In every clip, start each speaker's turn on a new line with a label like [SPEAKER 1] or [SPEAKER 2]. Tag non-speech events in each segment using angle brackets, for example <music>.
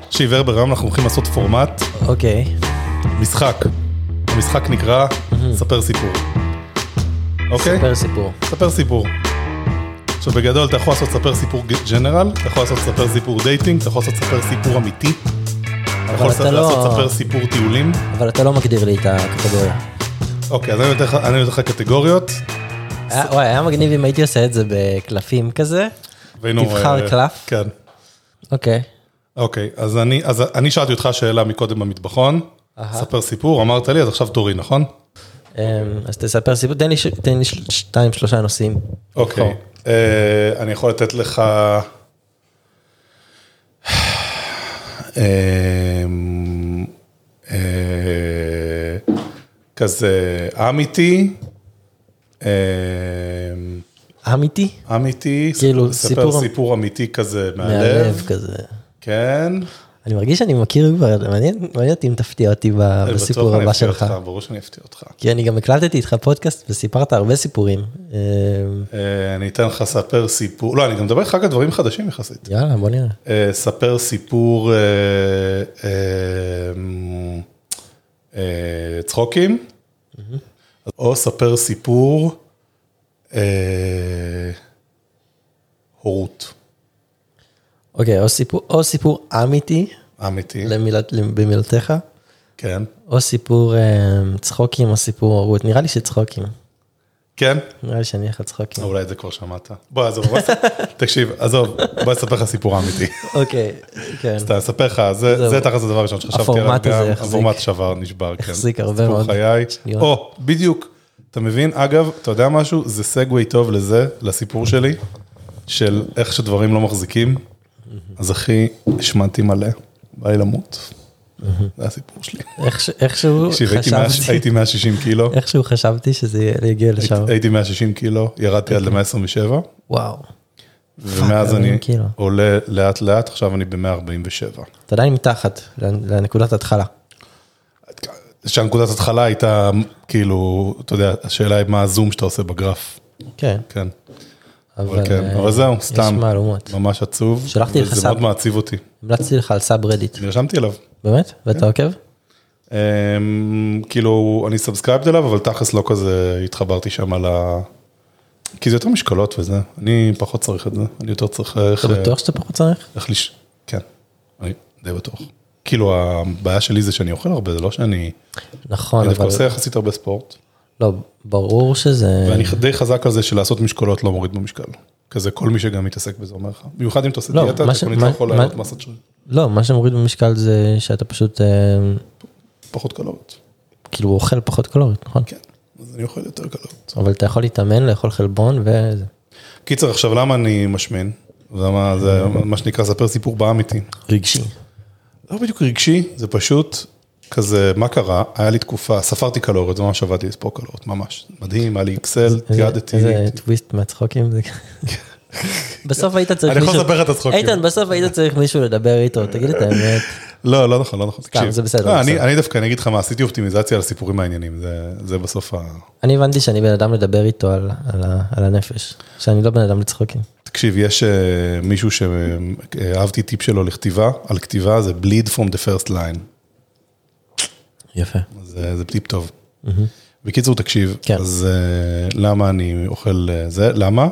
[SPEAKER 1] תקשיב, ורבר, היום אנחנו הולכים לעשות פורמט,
[SPEAKER 2] אוקיי.
[SPEAKER 1] משחק. המשחק נקרא ספר סיפור. אוקיי?
[SPEAKER 2] ספר סיפור.
[SPEAKER 1] ספר סיפור. עכשיו בגדול אתה יכול לעשות ספר סיפור ג'נרל, אתה יכול לעשות ספר סיפור דייטינג, אתה יכול לעשות ספר סיפור אמיתי, אתה יכול
[SPEAKER 2] אתה לא-
[SPEAKER 1] לעשות ספר סיפור טיולים.
[SPEAKER 2] אבל אתה לא מגדיר לי את הקטגוריה.
[SPEAKER 1] אוקיי, אז אני נותן לך- אני נותן לך קטגוריות,
[SPEAKER 2] היה- וואי, היה מגניב אם הייתי עושה את זה בקלפים כזה.
[SPEAKER 1] והיינו...
[SPEAKER 2] תבחר
[SPEAKER 1] אה,
[SPEAKER 2] קלף.
[SPEAKER 1] כן.
[SPEAKER 2] אוקיי.
[SPEAKER 1] אוקיי, אז אני, אז אני שאלתי אותך שאלה מקודם במטבחון,
[SPEAKER 2] אהה.
[SPEAKER 1] ספר סיפור, אמרת לי, אז עכשיו תורי, נכון?
[SPEAKER 2] אמ, אז תספר סיפור, תן לי ש- תן לי של- שתיים, שלושה נושאים.
[SPEAKER 1] אוקיי.
[SPEAKER 2] לבחור.
[SPEAKER 1] אה, אני יכול לתת לך... אה, אמ, אה, כזה אמיתי, אמ,
[SPEAKER 2] אמיתי?
[SPEAKER 1] אמיתי,
[SPEAKER 2] כאילו,
[SPEAKER 1] ספר
[SPEAKER 2] סיפור-
[SPEAKER 1] סיפור אמיתי כזה
[SPEAKER 2] מהלב
[SPEAKER 1] מהלב,
[SPEAKER 2] כזה.
[SPEAKER 1] כן.
[SPEAKER 2] אני מרגיש שאני מכיר כבר, מעניין מעניין אותי אם תפתיע אותי ב-
[SPEAKER 1] אני בטוח
[SPEAKER 2] בסיפור
[SPEAKER 1] אני
[SPEAKER 2] הבא
[SPEAKER 1] אפתיע
[SPEAKER 2] שלך.
[SPEAKER 1] אותך, ברור שאני אפתיע אותך.
[SPEAKER 2] כי אני גם הקלטתי איתך פודקאסט וסיפרת הרבה סיפורים. אמ,
[SPEAKER 1] אה, אני אתן לך ספר סיפור, לא, אני גם מדבר איתך רק על דברים חדשים יחסית.
[SPEAKER 2] יאללה, בוא נראה.
[SPEAKER 1] אה, ספר סיפור אה, אה, אה, צחוקים, או ספר סיפור אה, הורות,
[SPEAKER 2] אוקיי, או סיפור- או סיפור אמיתי,
[SPEAKER 1] אמיתי,
[SPEAKER 2] למילות- במילותיך,
[SPEAKER 1] כן,
[SPEAKER 2] או סיפור אמ, צחוקים או סיפור הורות. נראה לי שצחוקים.
[SPEAKER 1] כן,
[SPEAKER 2] נראה לי שאני אלך לצחוקים.
[SPEAKER 1] אולי את זה כבר שמעת. בוא, עזוב, בוא, תקשיב, עזוב, בוא אספר לך סיפור אמיתי.
[SPEAKER 2] אוקיי, כן.
[SPEAKER 1] סתם, אספר לך, זה-
[SPEAKER 2] זהו.
[SPEAKER 1] זה תכל'ס הדבר הראשון שחשבתי עליו,
[SPEAKER 2] הפורמט הזה
[SPEAKER 1] גם
[SPEAKER 2] החזיק.
[SPEAKER 1] הפורמט שבר, נשבר, כן.
[SPEAKER 2] החזיק הרבה
[SPEAKER 1] סיפור
[SPEAKER 2] מאוד
[SPEAKER 1] חיי.
[SPEAKER 2] שניות.
[SPEAKER 1] או, בדיוק, אתה מבין? אגב, אתה יודע משהו? זה סגווי טוב לזה, לסיפור שלי, של איך שדברים לא מחזיקים. אז אחי, השמנתי מלא, בא לי למות. זה הסיפור שלי.
[SPEAKER 2] איכשהו- איכשהו
[SPEAKER 1] תקשיב, הייתי מאה-
[SPEAKER 2] חשבתי,
[SPEAKER 1] הייתי 160 קילו,
[SPEAKER 2] איכשהו חשבתי שזה יגיע לשם.
[SPEAKER 1] הייתי 160 קילו, ירדתי עד ל-127,
[SPEAKER 2] וואו.
[SPEAKER 1] ומאז
[SPEAKER 2] אוקיי. אלפיים
[SPEAKER 1] אני
[SPEAKER 2] קילו.
[SPEAKER 1] עולה לאט לאט, עכשיו אני ב-147.
[SPEAKER 2] אתה עדיין מתחת לנ- לנקודת התחלה.
[SPEAKER 1] שהנקודת התחלה הייתה, כאילו, אתה יודע, השאלה היא מה הזום שאתה עושה בגרף,
[SPEAKER 2] כן,
[SPEAKER 1] כן.
[SPEAKER 2] אבל
[SPEAKER 1] אבל כן,
[SPEAKER 2] אה,
[SPEAKER 1] אבל זהו,
[SPEAKER 2] יש
[SPEAKER 1] סתם,
[SPEAKER 2] מהלומות.
[SPEAKER 1] ממש עצוב.
[SPEAKER 2] שלחתי לך
[SPEAKER 1] וזה
[SPEAKER 2] סאב.
[SPEAKER 1] מאוד מעציב אותי.
[SPEAKER 2] המלצתי לך על סאב רדיט.
[SPEAKER 1] נרשמתי אליו.
[SPEAKER 2] באמת?
[SPEAKER 1] כן.
[SPEAKER 2] ואתה עוקב?
[SPEAKER 1] אמ, כאילו, אני סאבסקרייבד אליו, אבל תכלס לא כזה התחברתי שם על ה... כי זה יותר משקלות וזה, אני פחות צריך את זה, אני יותר צריך איך...
[SPEAKER 2] אתה בטוח שאתה פחות צריך?
[SPEAKER 1] איך לש... כן, אני די בטוח. כאילו, הבעיה שלי זה שאני אוכל הרבה, זה לא שאני...
[SPEAKER 2] נכון,
[SPEAKER 1] אני דווקא
[SPEAKER 2] אבל...
[SPEAKER 1] עושה יחסית הרבה ספורט.
[SPEAKER 2] לא, ברור שזה...
[SPEAKER 1] ואני די חזק על זה שלעשות משקולות לא מוריד במשקל. כזה כל מי שגם מתעסק בזה אומר לך. במיוחד אם אתה עושה
[SPEAKER 2] לא,
[SPEAKER 1] דיאטה,
[SPEAKER 2] מה
[SPEAKER 1] אתה
[SPEAKER 2] ש-
[SPEAKER 1] יכול
[SPEAKER 2] מה-
[SPEAKER 1] יכול
[SPEAKER 2] מה-
[SPEAKER 1] לעלות מסת של
[SPEAKER 2] לא, מה שמוריד במשקל זה שאתה פשוט אה,
[SPEAKER 1] פחות קלוריות.
[SPEAKER 2] כאילו אוכל פחות קלוריות, נכון?
[SPEAKER 1] כן, אז אני אוכל יותר קלוריות.
[SPEAKER 2] אבל אתה יכול להתאמן, לאכול חלבון וזה.
[SPEAKER 1] קיצר, עכשיו למה אני משמין? למה זה מה שנקרא ספר סיפור באמיתי.
[SPEAKER 2] רגשי.
[SPEAKER 1] לא בדיוק רגשי, זה פשוט כזה, מה קרה? היה לי תקופה, ספרתי קלוריות, זה ממש עבדתי לספור קלוריות, ממש. מדהים, היה לי אקסל, תיעדתי.
[SPEAKER 2] איזה טוויסט מהצחוקים.
[SPEAKER 1] <laughs>
[SPEAKER 2] זה כ- בסוף היית צריך
[SPEAKER 1] אני
[SPEAKER 2] מישהו...
[SPEAKER 1] יכול לספר לך את הצחוקים.
[SPEAKER 2] איתן, בסוף היית צריך מישהו לדבר איתו, תגיד את האמת.
[SPEAKER 1] <laughs> לא, לא נכון, לא נכון.
[SPEAKER 2] סתם,
[SPEAKER 1] תקשיב.
[SPEAKER 2] זה בסדר,
[SPEAKER 1] לא, אני-
[SPEAKER 2] בסדר.
[SPEAKER 1] אני דווקא, אני אגיד לך מה, עשיתי אופטימיזציה על הסיפורים מעניינים, זה- זה בסוף ה...
[SPEAKER 2] אני הבנתי שאני בן אדם לדבר איתו על- על ה- על הנפש, שאני לא בן אדם לצחוקים.
[SPEAKER 1] תקשיב, יש אה, מישהו שאהבתי טיפ שלו לכתיבה, על כתיבה זה bleed from the first line,
[SPEAKER 2] יפה.
[SPEAKER 1] זה, זה טיפ טוב. בקיצור, תקשיב,
[SPEAKER 2] כן.
[SPEAKER 1] אז אה, למה אני אוכל אה, זה? למה?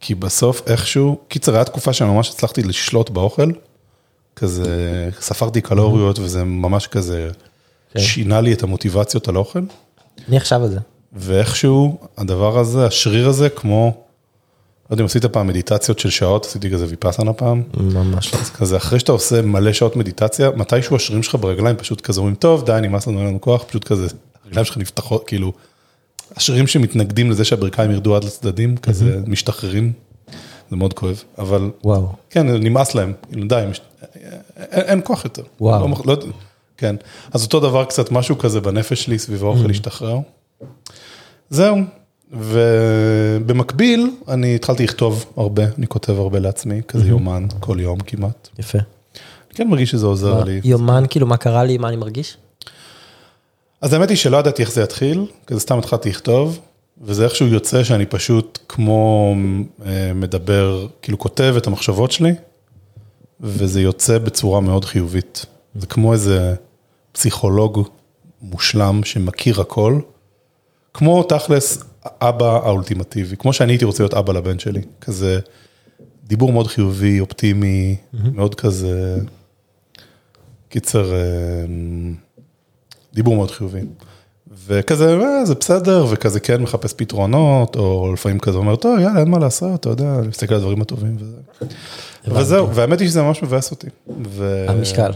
[SPEAKER 1] כי בסוף איכשהו, קיצר, הייתה תקופה שממש הצלחתי לשלוט באוכל, כזה, ספרתי קלוריות וזה ממש כזה,
[SPEAKER 2] כן.
[SPEAKER 1] שינה לי את המוטיבציות על האוכל,
[SPEAKER 2] אני עכשיו על זה.
[SPEAKER 1] ואיכשהו הדבר הזה, השריר הזה, כמו, לא יודע אם עשית פעם מדיטציות של שעות, עשיתי כזה ויפאסנה פעם.
[SPEAKER 2] ממש לא.
[SPEAKER 1] אז כזה, אחרי שאתה עושה מלא שעות מדיטציה, מתישהו השרירים שלך ברגליים פשוט כזה אומרים, טוב, די, נמאס לנו, אין לנו כוח, פשוט כזה, הרגליים שלך נפתחות, כאילו, השרירים שמתנגדים לזה שהברכיים ירדו עד לצדדים, כזה משתחררים, זה מאוד כואב, אבל
[SPEAKER 2] וואו.
[SPEAKER 1] כן, נמאס להם, כאילו, די, מש... אין, אין כוח יותר.
[SPEAKER 2] וואו.
[SPEAKER 1] לא, מח- לא, כן, אז אותו דבר קצת, משהו כזה בנפש שלי סביב האוכל השתחרר. זהו, ובמקביל, אני התחלתי לכתוב הרבה, אני כותב הרבה לעצמי, כזה יומן, כל יום כמעט.
[SPEAKER 2] יפה.
[SPEAKER 1] אני כן מרגיש שזה עוזר
[SPEAKER 2] מה,
[SPEAKER 1] לי.
[SPEAKER 2] יומן, כאילו, מה קרה לי, מה אני מרגיש?
[SPEAKER 1] אז האמת היא שלא ידעתי איך זה יתחיל, כזה סתם התחלתי לכתוב, וזה איכשהו יוצא שאני פשוט כמו אה, מדבר, כאילו כותב את המחשבות שלי, וזה יוצא בצורה מאוד חיובית. זה כמו איזה פסיכולוג מושלם שמכיר הכל, כמו תכלס אבא האולטימטיבי, כמו שאני הייתי רוצה להיות אבא לבן שלי, כזה דיבור מאוד חיובי, אופטימי, מאוד כזה, קיצר, אמ, דיבור מאוד חיובי. וכזה, "אה, זה בסדר, וכזה כן מחפש פתרונות, או לפעמים כזה אומר, טוב, יאללה, אין מה לעשות, אתה יודע, אני מסתכל על הדברים הטובים וזה. וזהו, והאמת היא שזה ממש מבאס אותי. ו...
[SPEAKER 2] המשקל.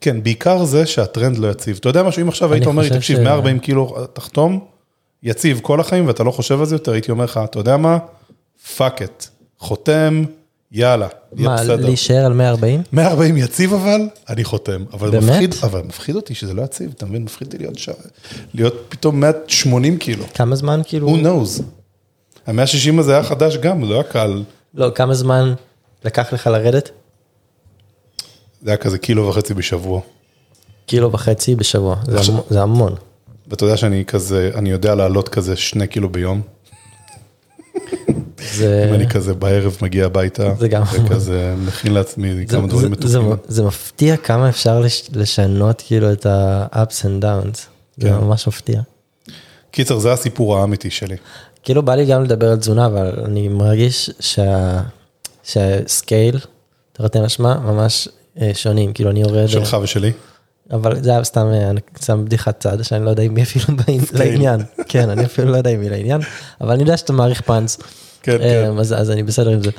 [SPEAKER 1] כן, בעיקר זה שהטרנד לא יציב. אתה יודע משהו, אם עכשיו
[SPEAKER 2] אני
[SPEAKER 1] היית אומר לי,
[SPEAKER 2] חושב
[SPEAKER 1] תקשיב,
[SPEAKER 2] ש-
[SPEAKER 1] 140 קילו כאילו, תחתום, יציב כל החיים ואתה לא חושב על זה יותר, הייתי אומר לך, אתה יודע מה? פאק את, חותם, יאללה, יהיה
[SPEAKER 2] מה,
[SPEAKER 1] בסדר.
[SPEAKER 2] להישאר על 140?
[SPEAKER 1] 140 יציב אבל, אני חותם. אבל
[SPEAKER 2] באמת?
[SPEAKER 1] מפחיד, אבל מפחיד אותי שזה לא יציב, אתה מבין? מפחיד אותי להיות שם, להיות פתאום 180 קילו.
[SPEAKER 2] כמה זמן כאילו?
[SPEAKER 1] Who knows? ה-160 הזה היה חדש גם, זה לא היה קל.
[SPEAKER 2] לא, כמה זמן לקח לך לרדת?
[SPEAKER 1] זה היה כזה קילו וחצי בשבוע.
[SPEAKER 2] קילו וחצי בשבוע, זה
[SPEAKER 1] עכשיו-
[SPEAKER 2] המון- זה המון.
[SPEAKER 1] ואתה יודע שאני כזה, אני יודע לעלות כזה שני קילו ביום.
[SPEAKER 2] אה. זה-
[SPEAKER 1] אם אני כזה בערב מגיע הביתה,
[SPEAKER 2] זה גם-
[SPEAKER 1] וכזה מכין לעצמי
[SPEAKER 2] זה-
[SPEAKER 1] כמה דברים
[SPEAKER 2] זה- זה-
[SPEAKER 1] מתוקים.
[SPEAKER 2] זה מפתיע כמה אפשר לש- לשנות כאילו את ה-ups and downs, זה
[SPEAKER 1] כן.
[SPEAKER 2] ממש מפתיע.
[SPEAKER 1] קיצר, זה הסיפור האמיתי שלי.
[SPEAKER 2] כאילו בא לי גם לדבר על תזונה, אבל אני מרגיש שה- שהסקייל, תרתי משמע, ממש אה, שונים, כאילו אני יורד...
[SPEAKER 1] שלך ושלי.
[SPEAKER 2] אבל זה היה סתם, אה, אני סתם בדיחת צד, שאני לא יודע אם מי אפילו בעי- לעניין. כן, אני אפילו לא יודע אם היא לעניין, אבל אני יודע שאתה מעריך פאנס.
[SPEAKER 1] כן,
[SPEAKER 2] אה,
[SPEAKER 1] כן.
[SPEAKER 2] אז, אז אני בסדר עם זה.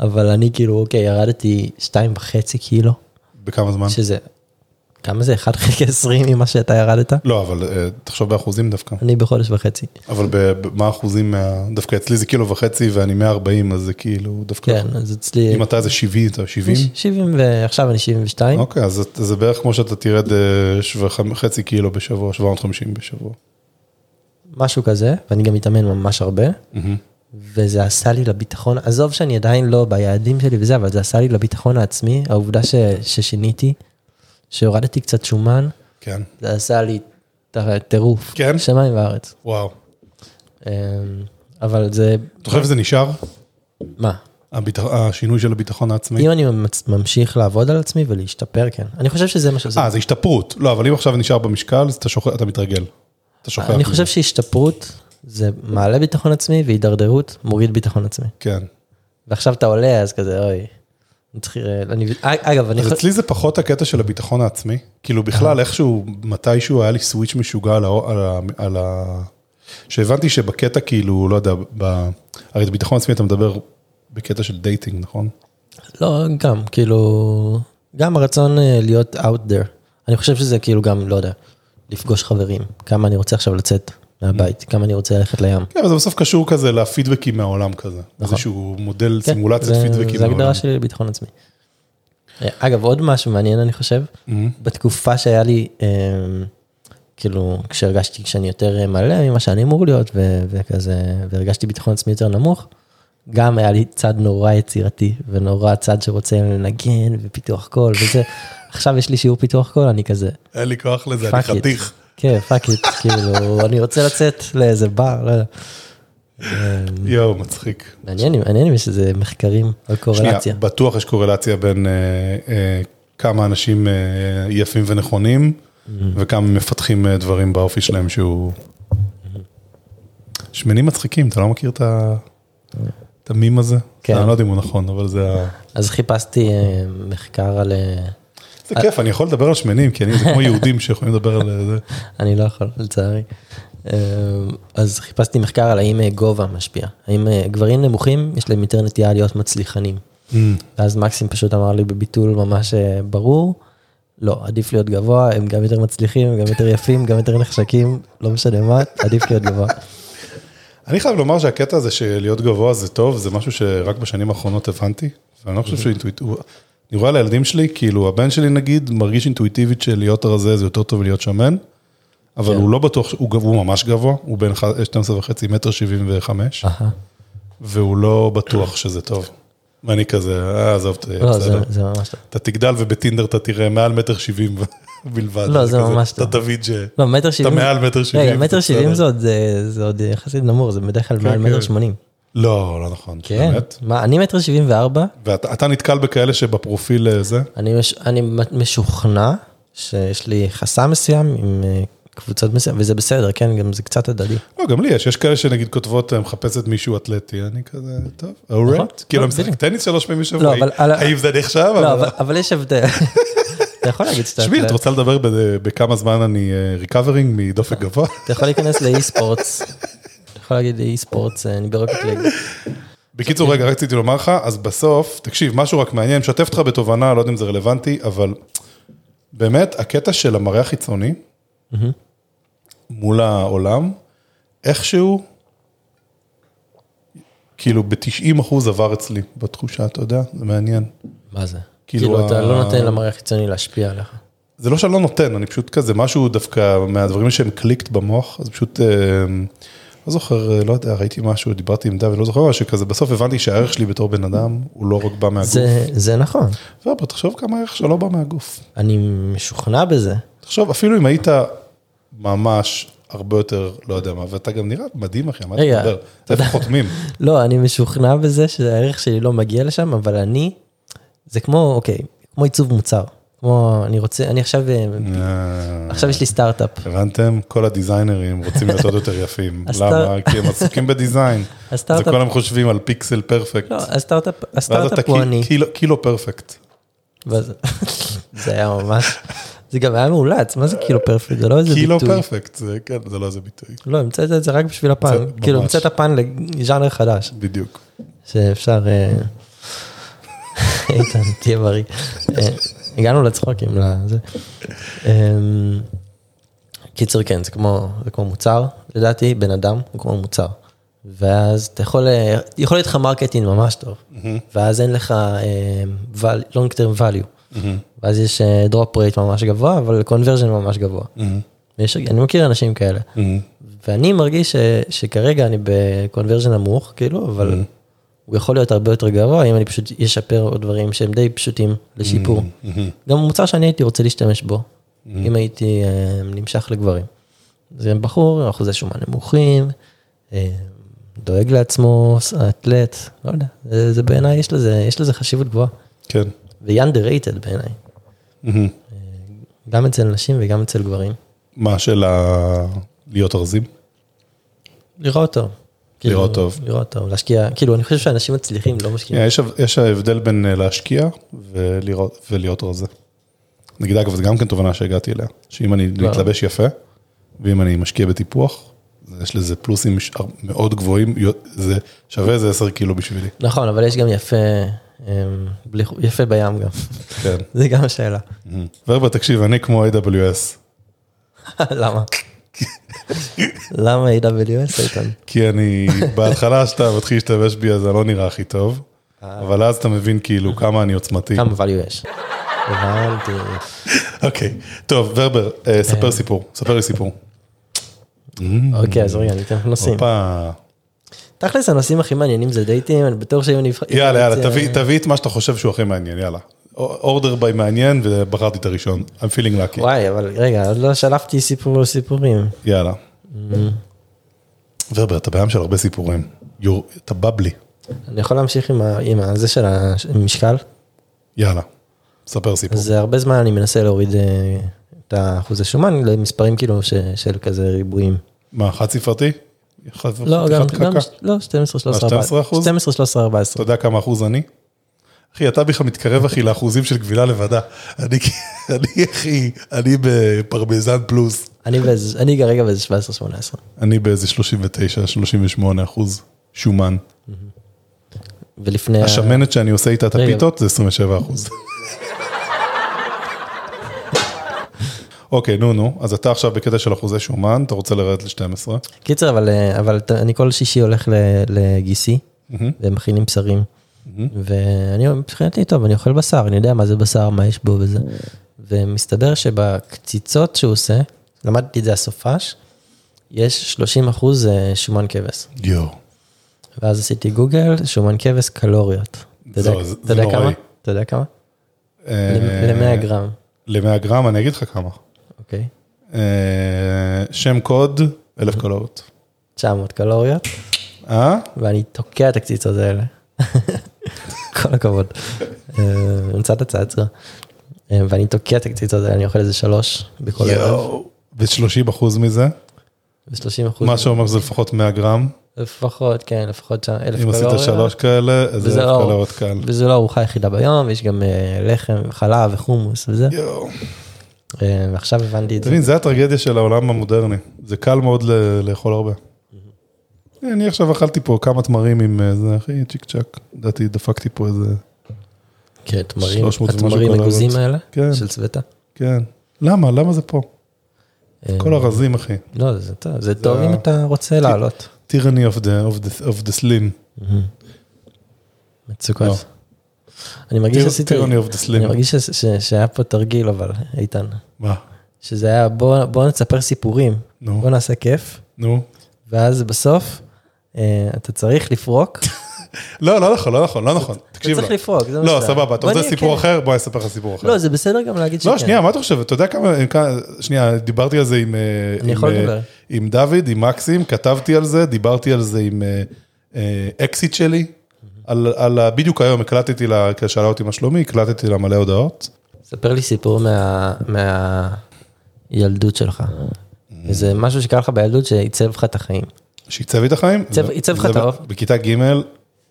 [SPEAKER 2] אבל אני כאילו, אוקיי, ירדתי שתיים וחצי קילו,
[SPEAKER 1] בכמה זמן?
[SPEAKER 2] שזה, כמה זה? 1 חלקי 20 ממה שאתה ירדת?
[SPEAKER 1] לא, אבל אה, תחשוב באחוזים דווקא.
[SPEAKER 2] אני בחודש וחצי.
[SPEAKER 1] אבל ב- ב- מה האחוזים מה... דווקא אצלי זה קילו וחצי ואני 140, אז זה כאילו דווקא...
[SPEAKER 2] כן, אז אצלי...
[SPEAKER 1] אם אתה זה 70, אתה 70?
[SPEAKER 2] 70 ועכשיו אני 72.
[SPEAKER 1] אוקיי, אז זה- זה בערך כמו שאתה תרד אה, שבע- חמ- חצי קילו בשבוע, 750 בשבוע.
[SPEAKER 2] משהו כזה, ואני גם מתאמן ממש הרבה, וזה עשה לי לביטחון, עזוב שאני עדיין לא ביעדים שלי וזה, אבל זה עשה לי לביטחון העצמי, העובדה ש, ששיניתי, שהורדתי קצת שומן,
[SPEAKER 1] כן.
[SPEAKER 2] זה עשה לי ט- טירוף,
[SPEAKER 1] כן?
[SPEAKER 2] שמיים וארץ.
[SPEAKER 1] וואו.
[SPEAKER 2] אמ, אבל זה,
[SPEAKER 1] אתה חושב שזה נשאר?
[SPEAKER 2] מה,
[SPEAKER 1] אוקיי. הביטח- השינוי של הביטחון העצמי?
[SPEAKER 2] אם אני מצ- ממשיך לעבוד על עצמי ולהשתפר, כן. אני חושב שזה מה שזה.
[SPEAKER 1] אה, זה השתפרות. לא, אבל אם עכשיו נשאר במשקל, אז אתה שוכח- אתה מתרגל. אתה שוכח.
[SPEAKER 2] אני
[SPEAKER 1] מזה.
[SPEAKER 2] חושב שהשתפרות זה מעלה ביטחון עצמי, והידרדרות מוריד ביטחון עצמי.
[SPEAKER 1] כן.
[SPEAKER 2] ועכשיו אתה עולה, אז כזה, אוי. אני צריך, אה, אני, אגב, אני
[SPEAKER 1] אז אצלי זה פחות הקטע של הביטחון העצמי, כאילו בכלל איכשהו, מתישהו היה לי סוויץ' משוגע על ה... על ה, על ה... שהבנתי שבקטע כאילו, לא יודע, ב... הרי את ביטחון עצמי אתה מדבר בקטע של דייטינג, נכון?
[SPEAKER 2] לא, גם, כאילו, גם הרצון אה, להיות out there. אני חושב שזה כאילו גם, לא יודע, לפגוש חברים, כמה אני רוצה עכשיו לצאת מהבית, כמה אני רוצה ללכת לים.
[SPEAKER 1] כן, אבל זה בסוף קשור כזה לפידבקים מהעולם כזה. איזשהו מודל
[SPEAKER 2] נכון. כן,
[SPEAKER 1] סימולציית
[SPEAKER 2] זה-
[SPEAKER 1] פידבקים
[SPEAKER 2] זה
[SPEAKER 1] מהעולם.
[SPEAKER 2] הגדרה שלי לביטחון עצמי. אה, אגב, עוד משהו מעניין, אני חושב, בתקופה שהיה לי, אה, כאילו, כשהרגשתי שאני יותר אה, מלא ממה שאני אמור להיות, ו- וכזה, והרגשתי ביטחון עצמי יותר נמוך, גם היה לי צד נורא יצירתי, ונורא צד שרוצה לנגן, ופיתוח קול, וזה. עכשיו יש לי שיעור פיתוח קול, אני כזה,
[SPEAKER 1] אין לי כוח לזה, אני
[SPEAKER 2] פאק איט.
[SPEAKER 1] חתיך.
[SPEAKER 2] כן, פאק איט, כאילו, אני רוצה לצאת לאיזה בר, לא
[SPEAKER 1] <laughs>
[SPEAKER 2] יודע. אה,
[SPEAKER 1] יואו, מצחיק.
[SPEAKER 2] מעניין אם- מעניין אם יש איזה מחקרים על
[SPEAKER 1] שנייה,
[SPEAKER 2] קורלציה.
[SPEAKER 1] בטוח יש קורלציה בין אה, אה, כמה אנשים אה, יפים ונכונים,
[SPEAKER 2] Mm-hmm.
[SPEAKER 1] וכמה מפתחים אה, דברים באופי שלהם שהוא... שמנים מצחיקים, אתה לא מכיר את ה- את המים הזה?
[SPEAKER 2] כן.
[SPEAKER 1] אני לא יודע אם הוא נכון, אבל זה... ה-
[SPEAKER 2] אז חיפשתי אה, מחקר על... אה,
[SPEAKER 1] זה כיף, אני יכול לדבר על שמנים, כי אני, זה
[SPEAKER 2] <laughs>
[SPEAKER 1] כמו יהודים שיכולים לדבר על אה, זה.
[SPEAKER 2] אני לא יכול, לצערי. אה, אז חיפשתי מחקר על האם אה, גובה משפיע. האם אה, גברים נמוכים, יש להם יותר נטייה להיות מצליחנים.
[SPEAKER 1] Mm.
[SPEAKER 2] ואז מקסים פשוט אמר לי בביטול ממש אה, ברור, לא, עדיף להיות גבוה, הם גם יותר מצליחים, הם גם יותר יפים, גם יותר נחשקים, לא משנה מה, עדיף להיות
[SPEAKER 1] <laughs>
[SPEAKER 2] גבוה.
[SPEAKER 1] אני חייב לומר שהקטע הזה של להיות גבוה זה טוב, זה משהו שרק בשנים האחרונות הבנתי, ואני לא חושב שהוא אינטואיטיבי. אני רואה על הילדים שלי, כאילו הבן שלי נגיד, מרגיש אינטואיטיבית שלהיות רזה זה יותר טוב מלהיות שמן,
[SPEAKER 2] כן.
[SPEAKER 1] אבל הוא לא בטוח, הוא גב- הוא ממש גבוה, הוא בין ח- 12 וחצי מטר 75,
[SPEAKER 2] אהה.
[SPEAKER 1] והוא לא בטוח שזה טוב. ואני כזה, אה, עזוב, ת-
[SPEAKER 2] לא, זה
[SPEAKER 1] בסדר.
[SPEAKER 2] זה ממש טוב.
[SPEAKER 1] אתה תגדל ובטינדר אתה תראה מעל מטר 70 <laughs> בלבד.
[SPEAKER 2] לא,
[SPEAKER 1] אני
[SPEAKER 2] זה
[SPEAKER 1] כזה,
[SPEAKER 2] ממש
[SPEAKER 1] אתה
[SPEAKER 2] טוב.
[SPEAKER 1] תבין ש...
[SPEAKER 2] לא, מטר שבעים.
[SPEAKER 1] מעל מטר שבעים,
[SPEAKER 2] רגע, מטר
[SPEAKER 1] זה
[SPEAKER 2] שבעים
[SPEAKER 1] בסדר.
[SPEAKER 2] זה עוד, אה, זה עוד יחסית נמוך, זה בדרך כלל מעל
[SPEAKER 1] כן.
[SPEAKER 2] מטר שמונים.
[SPEAKER 1] לא, לא נכון.
[SPEAKER 2] כן,
[SPEAKER 1] באמת.
[SPEAKER 2] מה, אני מטר שבעים וארבע,
[SPEAKER 1] ואתה אתה נתקל בכאלה שבפרופיל אה, זה?
[SPEAKER 2] אני, מש, אני משוכנע שיש לי חסם מסוים עם אה, קבוצות מסוים, וזה בסדר, כן, גם זה קצת הדדי.
[SPEAKER 1] לא, גם לי יש, יש כאלה שנגיד כותבות, אה, מחפשת מישהו אטלטי, אני כזה, טוב,
[SPEAKER 2] נכון,
[SPEAKER 1] אורט, כאילו,
[SPEAKER 2] לא,
[SPEAKER 1] אני משחק
[SPEAKER 2] בדיוק.
[SPEAKER 1] טניס שלוש פעמים
[SPEAKER 2] לא,
[SPEAKER 1] בשבוע,
[SPEAKER 2] אבל-
[SPEAKER 1] האם- האם זה נחשב?
[SPEAKER 2] לא,
[SPEAKER 1] אבל-
[SPEAKER 2] אבל, אבל יש הבדל. אתה יכול להגיד שאתה...
[SPEAKER 1] תשמעי, את
[SPEAKER 2] אתה-
[SPEAKER 1] רוצה לדבר ב- בכמה זמן אני ריקאברינג מדופק
[SPEAKER 2] <laughs>
[SPEAKER 1] גבוה?
[SPEAKER 2] אתה יכול להיכנס לאי-ספורטס. אתה יכול להגיד אי-ספורטס, אה, אני ברוקט ליג.
[SPEAKER 1] בקיצור, רגע, רק רציתי לומר לך, אז בסוף, תקשיב, משהו רק מעניין, משתף אותך בתובנה, לא יודע אם זה רלוונטי, אבל באמת, הקטע של המראה החיצוני מול העולם, איכשהו, כאילו ב-90% עבר אצלי בתחושה, אתה יודע, זה מעניין.
[SPEAKER 2] מה זה?
[SPEAKER 1] כאילו,
[SPEAKER 2] כאילו, אתה
[SPEAKER 1] ה-
[SPEAKER 2] לא נותן למראה החיצוני להשפיע עליך.
[SPEAKER 1] זה לא שאני לא נותן, אני פשוט כזה, משהו דווקא מהדברים שהם קליקט במוח, אז פשוט, אה, לא זוכר, אה, לא יודע, ראיתי משהו, דיברתי עם דוד, לא זוכר, אבל שכזה, בסוף הבנתי שהערך שלי בתור בן אדם, הוא לא רק בא מהגוף.
[SPEAKER 2] זה, זה נכון,
[SPEAKER 1] ואבא, תחשוב כמה הערך שלו לא בא מהגוף.
[SPEAKER 2] אני משוכנע בזה.
[SPEAKER 1] תחשוב, אפילו אם היית ממש הרבה יותר, לא יודע מה, ואתה גם נראה מדהים, אחי, מה אתה
[SPEAKER 2] רגע,
[SPEAKER 1] מדבר? איפה
[SPEAKER 2] <laughs>
[SPEAKER 1] חותמים?
[SPEAKER 2] לא, אני משוכנע בזה שהערך שלי לא מגיע לשם, אבל אני, זה כמו, אוקיי, כמו עיצוב מוצר. כמו, אני רוצה, אני עכשיו, אה,
[SPEAKER 1] אה,
[SPEAKER 2] עכשיו יש לי סטארט-אפ.
[SPEAKER 1] הבנתם? כל הדיזיינרים רוצים להיות עוד יותר יפים.
[SPEAKER 2] הסטאר-
[SPEAKER 1] למה? כי הם עסוקים בדיזיין. זה
[SPEAKER 2] הסטארט-אפ,
[SPEAKER 1] כל הם חושבים על פיקסל פרפקט.
[SPEAKER 2] לא, הסטארט-אפ,
[SPEAKER 1] ואז אתה
[SPEAKER 2] הסטארט-אפ הוא אני.
[SPEAKER 1] קי- קילו- קילו פרפקט.
[SPEAKER 2] ואז- <laughs> זה היה ממש, זה גם היה מאולץ, מה זה קילו פרפקט? זה לא איזה
[SPEAKER 1] קילו
[SPEAKER 2] ביטוי.
[SPEAKER 1] פרפקט, זה כן, זה לא איזה ביטוי.
[SPEAKER 2] לא, המצאת את זה רק בשביל הפן,
[SPEAKER 1] זה-
[SPEAKER 2] כאילו
[SPEAKER 1] ממש.
[SPEAKER 2] המצאת פן לז'אנר חדש,
[SPEAKER 1] בדיוק.
[SPEAKER 2] שאפשר, אה, איתן, תהיה בריא. אה, הגענו לצחוקים, לזה. אמ, קיצר כן, זה כמו, זה כמו מוצר, לדעתי, בן אדם הוא כמו מוצר. ואז אתה יכול, אה, יכול להיות לך מרקטינג ממש טוב, ואז אין לך אה, לונג טרם value, ואז יש דרופ רייט ממש גבוה, אבל קונברז'ן ממש גבוה. ויש- אני מכיר אנשים כאלה. ואני מרגיש ש, שכרגע אני בקונברז'ן נמוך, כאילו, אבל הוא יכול להיות הרבה יותר גבוה, אם אני פשוט אשפר עוד דברים שהם די פשוטים לשיפור.
[SPEAKER 1] Mm.
[SPEAKER 2] גם מוצר שאני הייתי רוצה להשתמש בו, אם הייתי אה, נמשך לגברים. זה בחור, אחוזי שומן נמוכים, אה, דואג לעצמו, אתלט, לא יודע, זה, זה בעיניי, יש לזה, יש לזה חשיבות גבוהה.
[SPEAKER 1] כן.
[SPEAKER 2] והיא underrated בעיניי,
[SPEAKER 1] מהמם.
[SPEAKER 2] גם אצל נשים וגם אצל גברים.
[SPEAKER 1] מה של ה... להיות ארזים?
[SPEAKER 2] כן. לראות טוב. כאילו,
[SPEAKER 1] לראות טוב.
[SPEAKER 2] לראות טוב, להשקיע, כאילו, אני חושב שאנשים מצליחים לא משקיעים.
[SPEAKER 1] אה, יש, יש ההבדל בין אה, להשקיע ולראות, ולהיות רזה. נגיד אגב, זו גם כן תובנה שהגעתי אליה, שאם אני
[SPEAKER 2] וואו.
[SPEAKER 1] מתלבש יפה, ואם אני משקיע בטיפוח, אז יש לזה פלוסים ש- מאוד גבוהים, יו- זה שווה איזה 10 קילו בשבילי.
[SPEAKER 2] נכון, אבל יש גם יפה, אמ, בלי חו- יפה בים גם. <laughs>
[SPEAKER 1] כן.
[SPEAKER 2] זה גם השאלה. <laughs>
[SPEAKER 1] ורבה, תקשיב, אני כמו AWS,
[SPEAKER 2] למה? <laughs> למה AWS איתן?
[SPEAKER 1] כי אני, בהתחלה שאתה מתחיל להשתמש בי, אז זה לא נראה הכי טוב, אבל אז אתה מבין כאילו כמה אני עוצמתי.
[SPEAKER 2] אה. כמה value יש? הבנתי.
[SPEAKER 1] אוקיי, טוב, ורבר, אה, ספר סיפור, ספר לי סיפור.
[SPEAKER 2] אוקיי, אז רגע, אני אתן לך נושאים.
[SPEAKER 1] הופה.
[SPEAKER 2] תכלס, הנושאים הכי מעניינים זה דייטים, אני בטוח שאם אני אבחר... אה,
[SPEAKER 1] יאללה, יאללה,
[SPEAKER 2] זה-
[SPEAKER 1] תביא, תביא את מה שאתה חושב שהוא הכי מעניין, יאללה. אורדר ביי מעניין, ובחרתי את הראשון. I'm feeling lucky.
[SPEAKER 2] וואי, אבל רגע, עוד לא שלפתי סיפור סיפורים.
[SPEAKER 1] יאללה.
[SPEAKER 2] Mm-hmm.
[SPEAKER 1] ורבר, אתה בים של הרבה סיפורים. You're- אתה בבלי.
[SPEAKER 2] אני יכול להמשיך עם ה- עם הזה של המשקל?
[SPEAKER 1] יאללה. ספר סיפור.
[SPEAKER 2] אז הרבה זמן אני מנסה להוריד אה, את האחוז השומן למספרים כאילו ש- של כזה ריבועים.
[SPEAKER 1] מה, חד ספרתי? חד-
[SPEAKER 2] לא,
[SPEAKER 1] חתיכת
[SPEAKER 2] גם,
[SPEAKER 1] קקה?
[SPEAKER 2] גם, לא, 12, 13,
[SPEAKER 1] 12
[SPEAKER 2] 14,
[SPEAKER 1] אחוז?
[SPEAKER 2] 12, 13,
[SPEAKER 1] אתה
[SPEAKER 2] 14.
[SPEAKER 1] יודע כמה אחוז אני? אחי, אתה בכלל מתקרב, אחי, לאחוזים של גבילה לבדה. אני, <laughs> אני, אחי, אני בפרמזן פלוס.
[SPEAKER 2] אני באיזה, אני כרגע באיזה 17, 18.
[SPEAKER 1] אני באיזה 39, 38 אחוז שומן.
[SPEAKER 2] ולפני, ה-
[SPEAKER 1] השמנת שאני עושה איתה את
[SPEAKER 2] אה. רגע.
[SPEAKER 1] הפיתות זה 27 אחוז. אוקיי, נו, נו, אז אתה עכשיו בקטע של אחוזי שומן, אתה רוצה לרדת ל-12.
[SPEAKER 2] קיצר, אבל, אה, אבל ת- אני כל שישי הולך ל- לגיסי, והם מכינים בשרים. ואני מבחינתי, טוב, אני אוכל בשר, אני יודע מה זה בשר, מה יש בו וזה. ומסתבר שבקציצות שהוא עושה, למדתי את זה הסופש, יש 30 אחוז אה, שומן כבש.
[SPEAKER 1] יואו.
[SPEAKER 2] ואז עשיתי גוגל, שומן כבש קלוריות. אתה
[SPEAKER 1] זה-
[SPEAKER 2] יודע-
[SPEAKER 1] זה
[SPEAKER 2] אתה יודע כמה?
[SPEAKER 1] נוראי.
[SPEAKER 2] אתה יודע כמה?
[SPEAKER 1] אה,
[SPEAKER 2] ל-100 גרם,
[SPEAKER 1] ל-100 גרם, אני אגיד לך כמה.
[SPEAKER 2] אוקיי.
[SPEAKER 1] אה, שם קוד, 1,000 קלוריות.
[SPEAKER 2] 900 קלוריות,
[SPEAKER 1] אה?
[SPEAKER 2] ואני תוקע את הקציצות האלה. <laughs> כל הכבוד. אה, מצאת הצעה צרה. אה, ואני תוקע את הקציצות האלה, אני אוכל איזה שלוש בכל ערב.
[SPEAKER 1] יואו. ו-30 אחוז מזה,
[SPEAKER 2] ו-30 אחוז.
[SPEAKER 1] מה שאומר שזה לפחות 100 גרם,
[SPEAKER 2] לפחות, כן, לפחות שם, אלף
[SPEAKER 1] אם
[SPEAKER 2] קלוריה.
[SPEAKER 1] עשית שלוש כאלה, אז
[SPEAKER 2] וזה
[SPEAKER 1] זה
[SPEAKER 2] לא-
[SPEAKER 1] קלוריות קל.
[SPEAKER 2] וזו לא הארוחה היחידה ביום, יש גם אה, לחם, חלב וחומוס וזה.
[SPEAKER 1] יואו.
[SPEAKER 2] אה, ועכשיו הבנתי את
[SPEAKER 1] אתה
[SPEAKER 2] זה.
[SPEAKER 1] מבין, זה הטרגדיה של העולם המודרני. זה קל מאוד ל- לאכול הרבה. אני עכשיו אכלתי פה כמה תמרים עם אה, זה, אחי, צ'יק צ'אק. לדעתי דפקתי פה איזה...
[SPEAKER 2] כן, תמרים,
[SPEAKER 1] 300 ומשהו
[SPEAKER 2] התמרים
[SPEAKER 1] קלוריות.
[SPEAKER 2] מגוזים האלה,
[SPEAKER 1] כן.
[SPEAKER 2] של צבטה.
[SPEAKER 1] כן. למה? למה זה פה?
[SPEAKER 2] אה,
[SPEAKER 1] כל הרזים, אחי.
[SPEAKER 2] לא, זה טוב, זה טוב
[SPEAKER 1] ה-
[SPEAKER 2] אם אתה רוצה לעלות.
[SPEAKER 1] tyranny of the, of the, of the slim.
[SPEAKER 2] מצוקות.
[SPEAKER 1] לא.
[SPEAKER 2] אני מרגיש שעשיתי,
[SPEAKER 1] tyranny of the
[SPEAKER 2] אני
[SPEAKER 1] slim.
[SPEAKER 2] מרגיש ש- ש- שהיה פה תרגיל אבל, איתן.
[SPEAKER 1] מה?
[SPEAKER 2] שזה היה בוא בוא נספר סיפורים,
[SPEAKER 1] נו,
[SPEAKER 2] בוא נעשה כיף,
[SPEAKER 1] נו.
[SPEAKER 2] ואז בסוף אה, אתה צריך לפרוק.
[SPEAKER 1] לא, לא נכון, לא נכון, לא נכון. תקשיב
[SPEAKER 2] אתה
[SPEAKER 1] לו.
[SPEAKER 2] צריך לפרוק, זה מה
[SPEAKER 1] לא,
[SPEAKER 2] שזה.
[SPEAKER 1] סבבה, אתה
[SPEAKER 2] בוא
[SPEAKER 1] רוצה
[SPEAKER 2] נהיה
[SPEAKER 1] סיפור
[SPEAKER 2] כן.
[SPEAKER 1] אחר? בוא אני אספר לך סיפור אחר.
[SPEAKER 2] לא, זה בסדר גם להגיד שכן.
[SPEAKER 1] לא, שנייה, מה אתה חושב? אתה יודע כמה... שנייה, דיברתי על זה עם... אה,
[SPEAKER 2] אני
[SPEAKER 1] עם,
[SPEAKER 2] יכול
[SPEAKER 1] אה,
[SPEAKER 2] לדבר.
[SPEAKER 1] עם דוד, עם מקסים, כתבתי על זה, דיברתי על זה עם אה, אה, אקסיט שלי. על, על, ה- בדיוק היום הקלטתי לה, כי שאלה אותי מה שלומי, הקלטתי לה מלא הודעות.
[SPEAKER 2] ספר לי סיפור מה- מהילדות שלך. זה משהו שקרה לך בילדות שעיצב לך את החיים.
[SPEAKER 1] שעיצב לי את החיים.
[SPEAKER 2] עיצב-
[SPEAKER 1] ו-
[SPEAKER 2] עיצב לך
[SPEAKER 1] זה
[SPEAKER 2] את
[SPEAKER 1] ב-
[SPEAKER 2] האור.
[SPEAKER 1] בכיתה ג'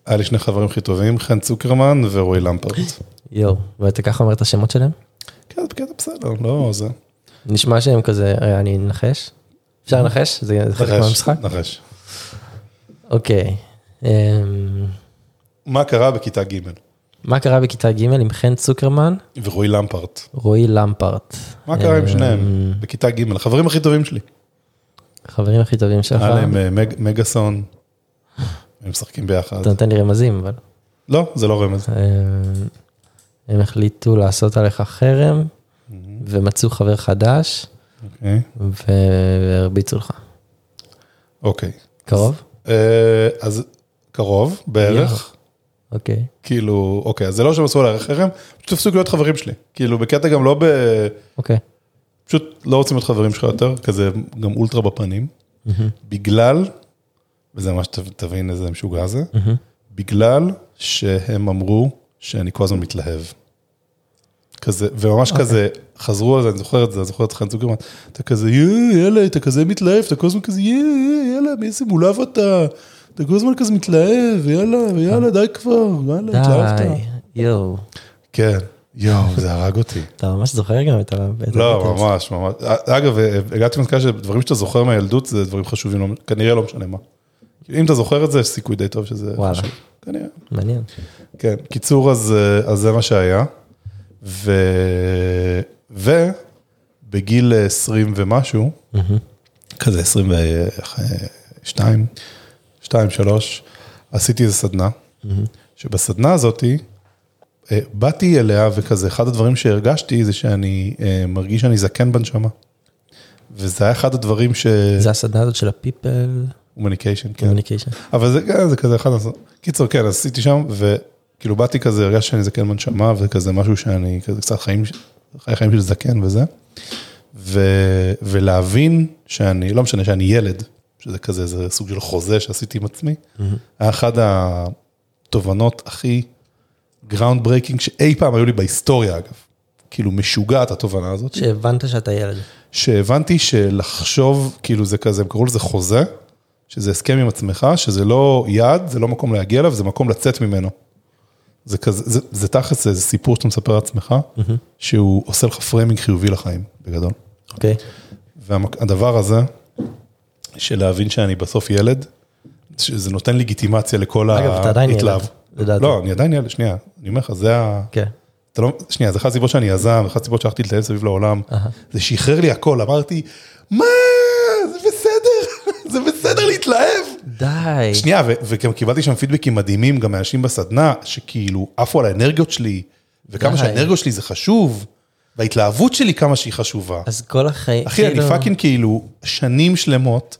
[SPEAKER 1] היה לי שני חברים הכי טובים, חן צוקרמן ורועי למפרט.
[SPEAKER 2] יואו, ואתה ככה אומר את השמות שלהם?
[SPEAKER 1] כן, בקטע בסדר, לא זה.
[SPEAKER 2] נשמע שהם כזה, אה, אני אנחש? אפשר לנחש? זה זה חלק מהמשחק?
[SPEAKER 1] אה, נחש.
[SPEAKER 2] אוקיי. אמ,
[SPEAKER 1] מה קרה בכיתה ג'
[SPEAKER 2] מה קרה בכיתה ג' עם חן צוקרמן,
[SPEAKER 1] ורועי למפרט?
[SPEAKER 2] רועי למפרט?
[SPEAKER 1] מה קרה עם
[SPEAKER 2] אמ,
[SPEAKER 1] שניהם? בכיתה ג', החברים הכי טובים שלי.
[SPEAKER 2] חברים הכי טובים שלך.
[SPEAKER 1] היה להם אה, מג- מגאסון, הם משחקים ביחד.
[SPEAKER 2] אתה נותן לי רמזים, אבל...
[SPEAKER 1] לא, זה לא רמז.
[SPEAKER 2] אמ, הם החליטו לעשות עליך חרם,
[SPEAKER 1] Mm-hmm.
[SPEAKER 2] ומצאו חבר חדש,
[SPEAKER 1] אוקיי.
[SPEAKER 2] ו- והרביצו לך.
[SPEAKER 1] אוקיי.
[SPEAKER 2] קרוב?
[SPEAKER 1] אה, אז קרוב בערך,
[SPEAKER 2] אוקיי.
[SPEAKER 1] כאילו, אוקיי, אז זה לא שהם עשו עליי חרם, פשוט הפסיקו להיות חברים שלי. כאילו, בקטע גם לא ב...
[SPEAKER 2] אוקיי.
[SPEAKER 1] פשוט לא רוצים להיות חברים שלך יותר, כזה גם אולטרה בפנים. בגלל, וזה ממש ת- תבין איזה משוגע זה, בגלל שהם אמרו שאני כל הזמן מתלהב. כזה, וממש כזה, חזרו על זה, אני זוכר את זה, אני זוכר את חן צוקרמן, אתה כזה, יואו, יאללה, אתה כזה מתלהב, אתה כל הזמן כזה, יואו, יאללה, מאיזה מולב אתה, אתה כל הזמן כזה מתלהב, יאללה, יאללה, די כבר, יאללה, התלהבת.
[SPEAKER 2] די, יואו.
[SPEAKER 1] כן, יואו, זה הרג אותי.
[SPEAKER 2] אתה ממש זוכר גם את ה... את הקטע
[SPEAKER 1] לא,
[SPEAKER 2] הזה.
[SPEAKER 1] ממש, ממש. אגב, אה, הגעתי למסקנה שדברים שאתה זוכר מהילדות זה דברים חשובים, לא- כנראה לא משנה מה. אם אתה זוכר את זה, יש סיכוי די טוב שזה
[SPEAKER 2] וואלה.
[SPEAKER 1] חשוב. כנראה.
[SPEAKER 2] מעניין.
[SPEAKER 1] כן, קיצור, אז, אה, אז זה מה שהיה. ו... ובגיל 20 ומשהו, כזה אה, 22, 2, 3, עשיתי איזה סדנה, שבסדנה הזאתי, אה, באתי אליה וכזה, אחד הדברים שהרגשתי זה שאני אה, מרגיש שאני זקן בנשמה. וזה היה אחד הדברים ש...
[SPEAKER 2] זה הסדנה הזאת של הפיפל
[SPEAKER 1] הומניקיישן, כן.
[SPEAKER 2] קומיוניקיישן.
[SPEAKER 1] אבל זה, כן, זה כזה אחד, הס- קיצור, כן, אז עשיתי שם, וכאילו באתי כזה, הרגשתי שאני זקן בנשמה, וכזה משהו שאני, כזה קצת חיים, ש- חיי חיים של זקן וזה, ו, ולהבין שאני, לא משנה שאני ילד, שזה כזה, איזה סוג של חוזה שעשיתי עם עצמי, היה אחת התובנות הכי גראונד ברייקינג שאי פעם היו לי בהיסטוריה, אגב. כאילו משוגעת התובנה הזאת.
[SPEAKER 2] שהבנת שאתה ילד.
[SPEAKER 1] שהבנתי שלחשוב, כאילו זה כזה, הם קראו לזה חוזה, שזה הסכם עם עצמך, שזה לא יעד, זה לא מקום להגיע אליו, זה מקום לצאת ממנו. זה כזה, זה, זה תכלס איזה סיפור שאתה מספר לעצמך, שהוא עושה לך פריימינג חיובי לחיים, בגדול.
[SPEAKER 2] אוקיי.
[SPEAKER 1] והדבר הזה, של להבין שאני בסוף ילד, שזה נותן לגיטימציה לכל
[SPEAKER 2] אגב, אתה עדיין ילד, לדעתי.
[SPEAKER 1] לא, אני עדיין ילד, שנייה, אני אומר לך, זה ה...
[SPEAKER 2] כן.
[SPEAKER 1] אתה לא, שנייה, זה אחת הסיבות שאני יזם, אחת הסיבות שהלכתי לטייל סביב לעולם, זה שחרר לי הכל, אמרתי, מה, זה בסדר, <laughs> זה בסדר להתלהב.
[SPEAKER 2] די.
[SPEAKER 1] שנייה, ו- וגם קיבלתי שם פידבקים מדהימים, גם מאנשים בסדנה, שכאילו עפו על האנרגיות שלי, וכמה
[SPEAKER 2] די.
[SPEAKER 1] שהאנרגיות שלי זה חשוב, וההתלהבות שלי כמה שהיא חשובה.
[SPEAKER 2] אז כל החיים...
[SPEAKER 1] אחי, אני
[SPEAKER 2] כאילו-
[SPEAKER 1] פאקינג כאילו שנים שלמות,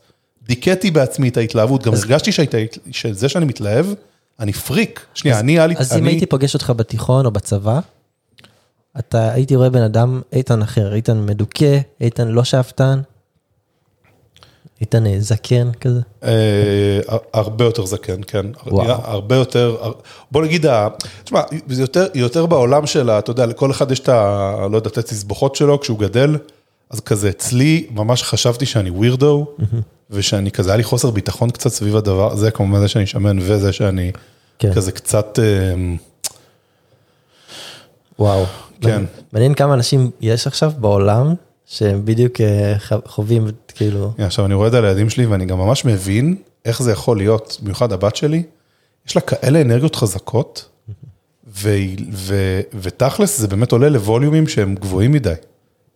[SPEAKER 1] דיכאתי בעצמי את ההתלהבות, גם הרגשתי שההת- שזה שאני מתלהב, אני פריק. שנייה, אני היה לי...
[SPEAKER 2] אז אם
[SPEAKER 1] אני-
[SPEAKER 2] הייתי פוגש אותך בתיכון או בצבא, אתה הייתי רואה בן אדם איתן אחר, איתן מדוכא, איתן לא שאפתן. איתן אה, זקן כזה?
[SPEAKER 1] אה, הרבה יותר זקן, כן.
[SPEAKER 2] וואו.
[SPEAKER 1] נראה הרבה יותר, הר- בוא נגיד, ה- תשמע, זה יותר, יותר בעולם של, ה- אתה יודע, לכל אחד יש את ה... לא יודע, את התסבוכות שלו כשהוא גדל, אז כזה, אצלי ממש חשבתי שאני ווירדו, ושאני כזה, היה לי חוסר ביטחון קצת סביב הדבר, זה כמובן זה שאני שמן וזה שאני
[SPEAKER 2] כן.
[SPEAKER 1] כזה קצת... אה,
[SPEAKER 2] וואו.
[SPEAKER 1] כן.
[SPEAKER 2] מעניין כמה אנשים יש עכשיו בעולם שהם בדיוק אה, ח- חווים כאילו,
[SPEAKER 1] הנה, עכשיו אני רואה על הילדים שלי ואני גם ממש מבין איך זה יכול להיות, במיוחד הבת שלי, יש לה כאלה אנרגיות חזקות, והיא- ו- ותכלס זה באמת עולה לווליומים שהם גבוהים מדי,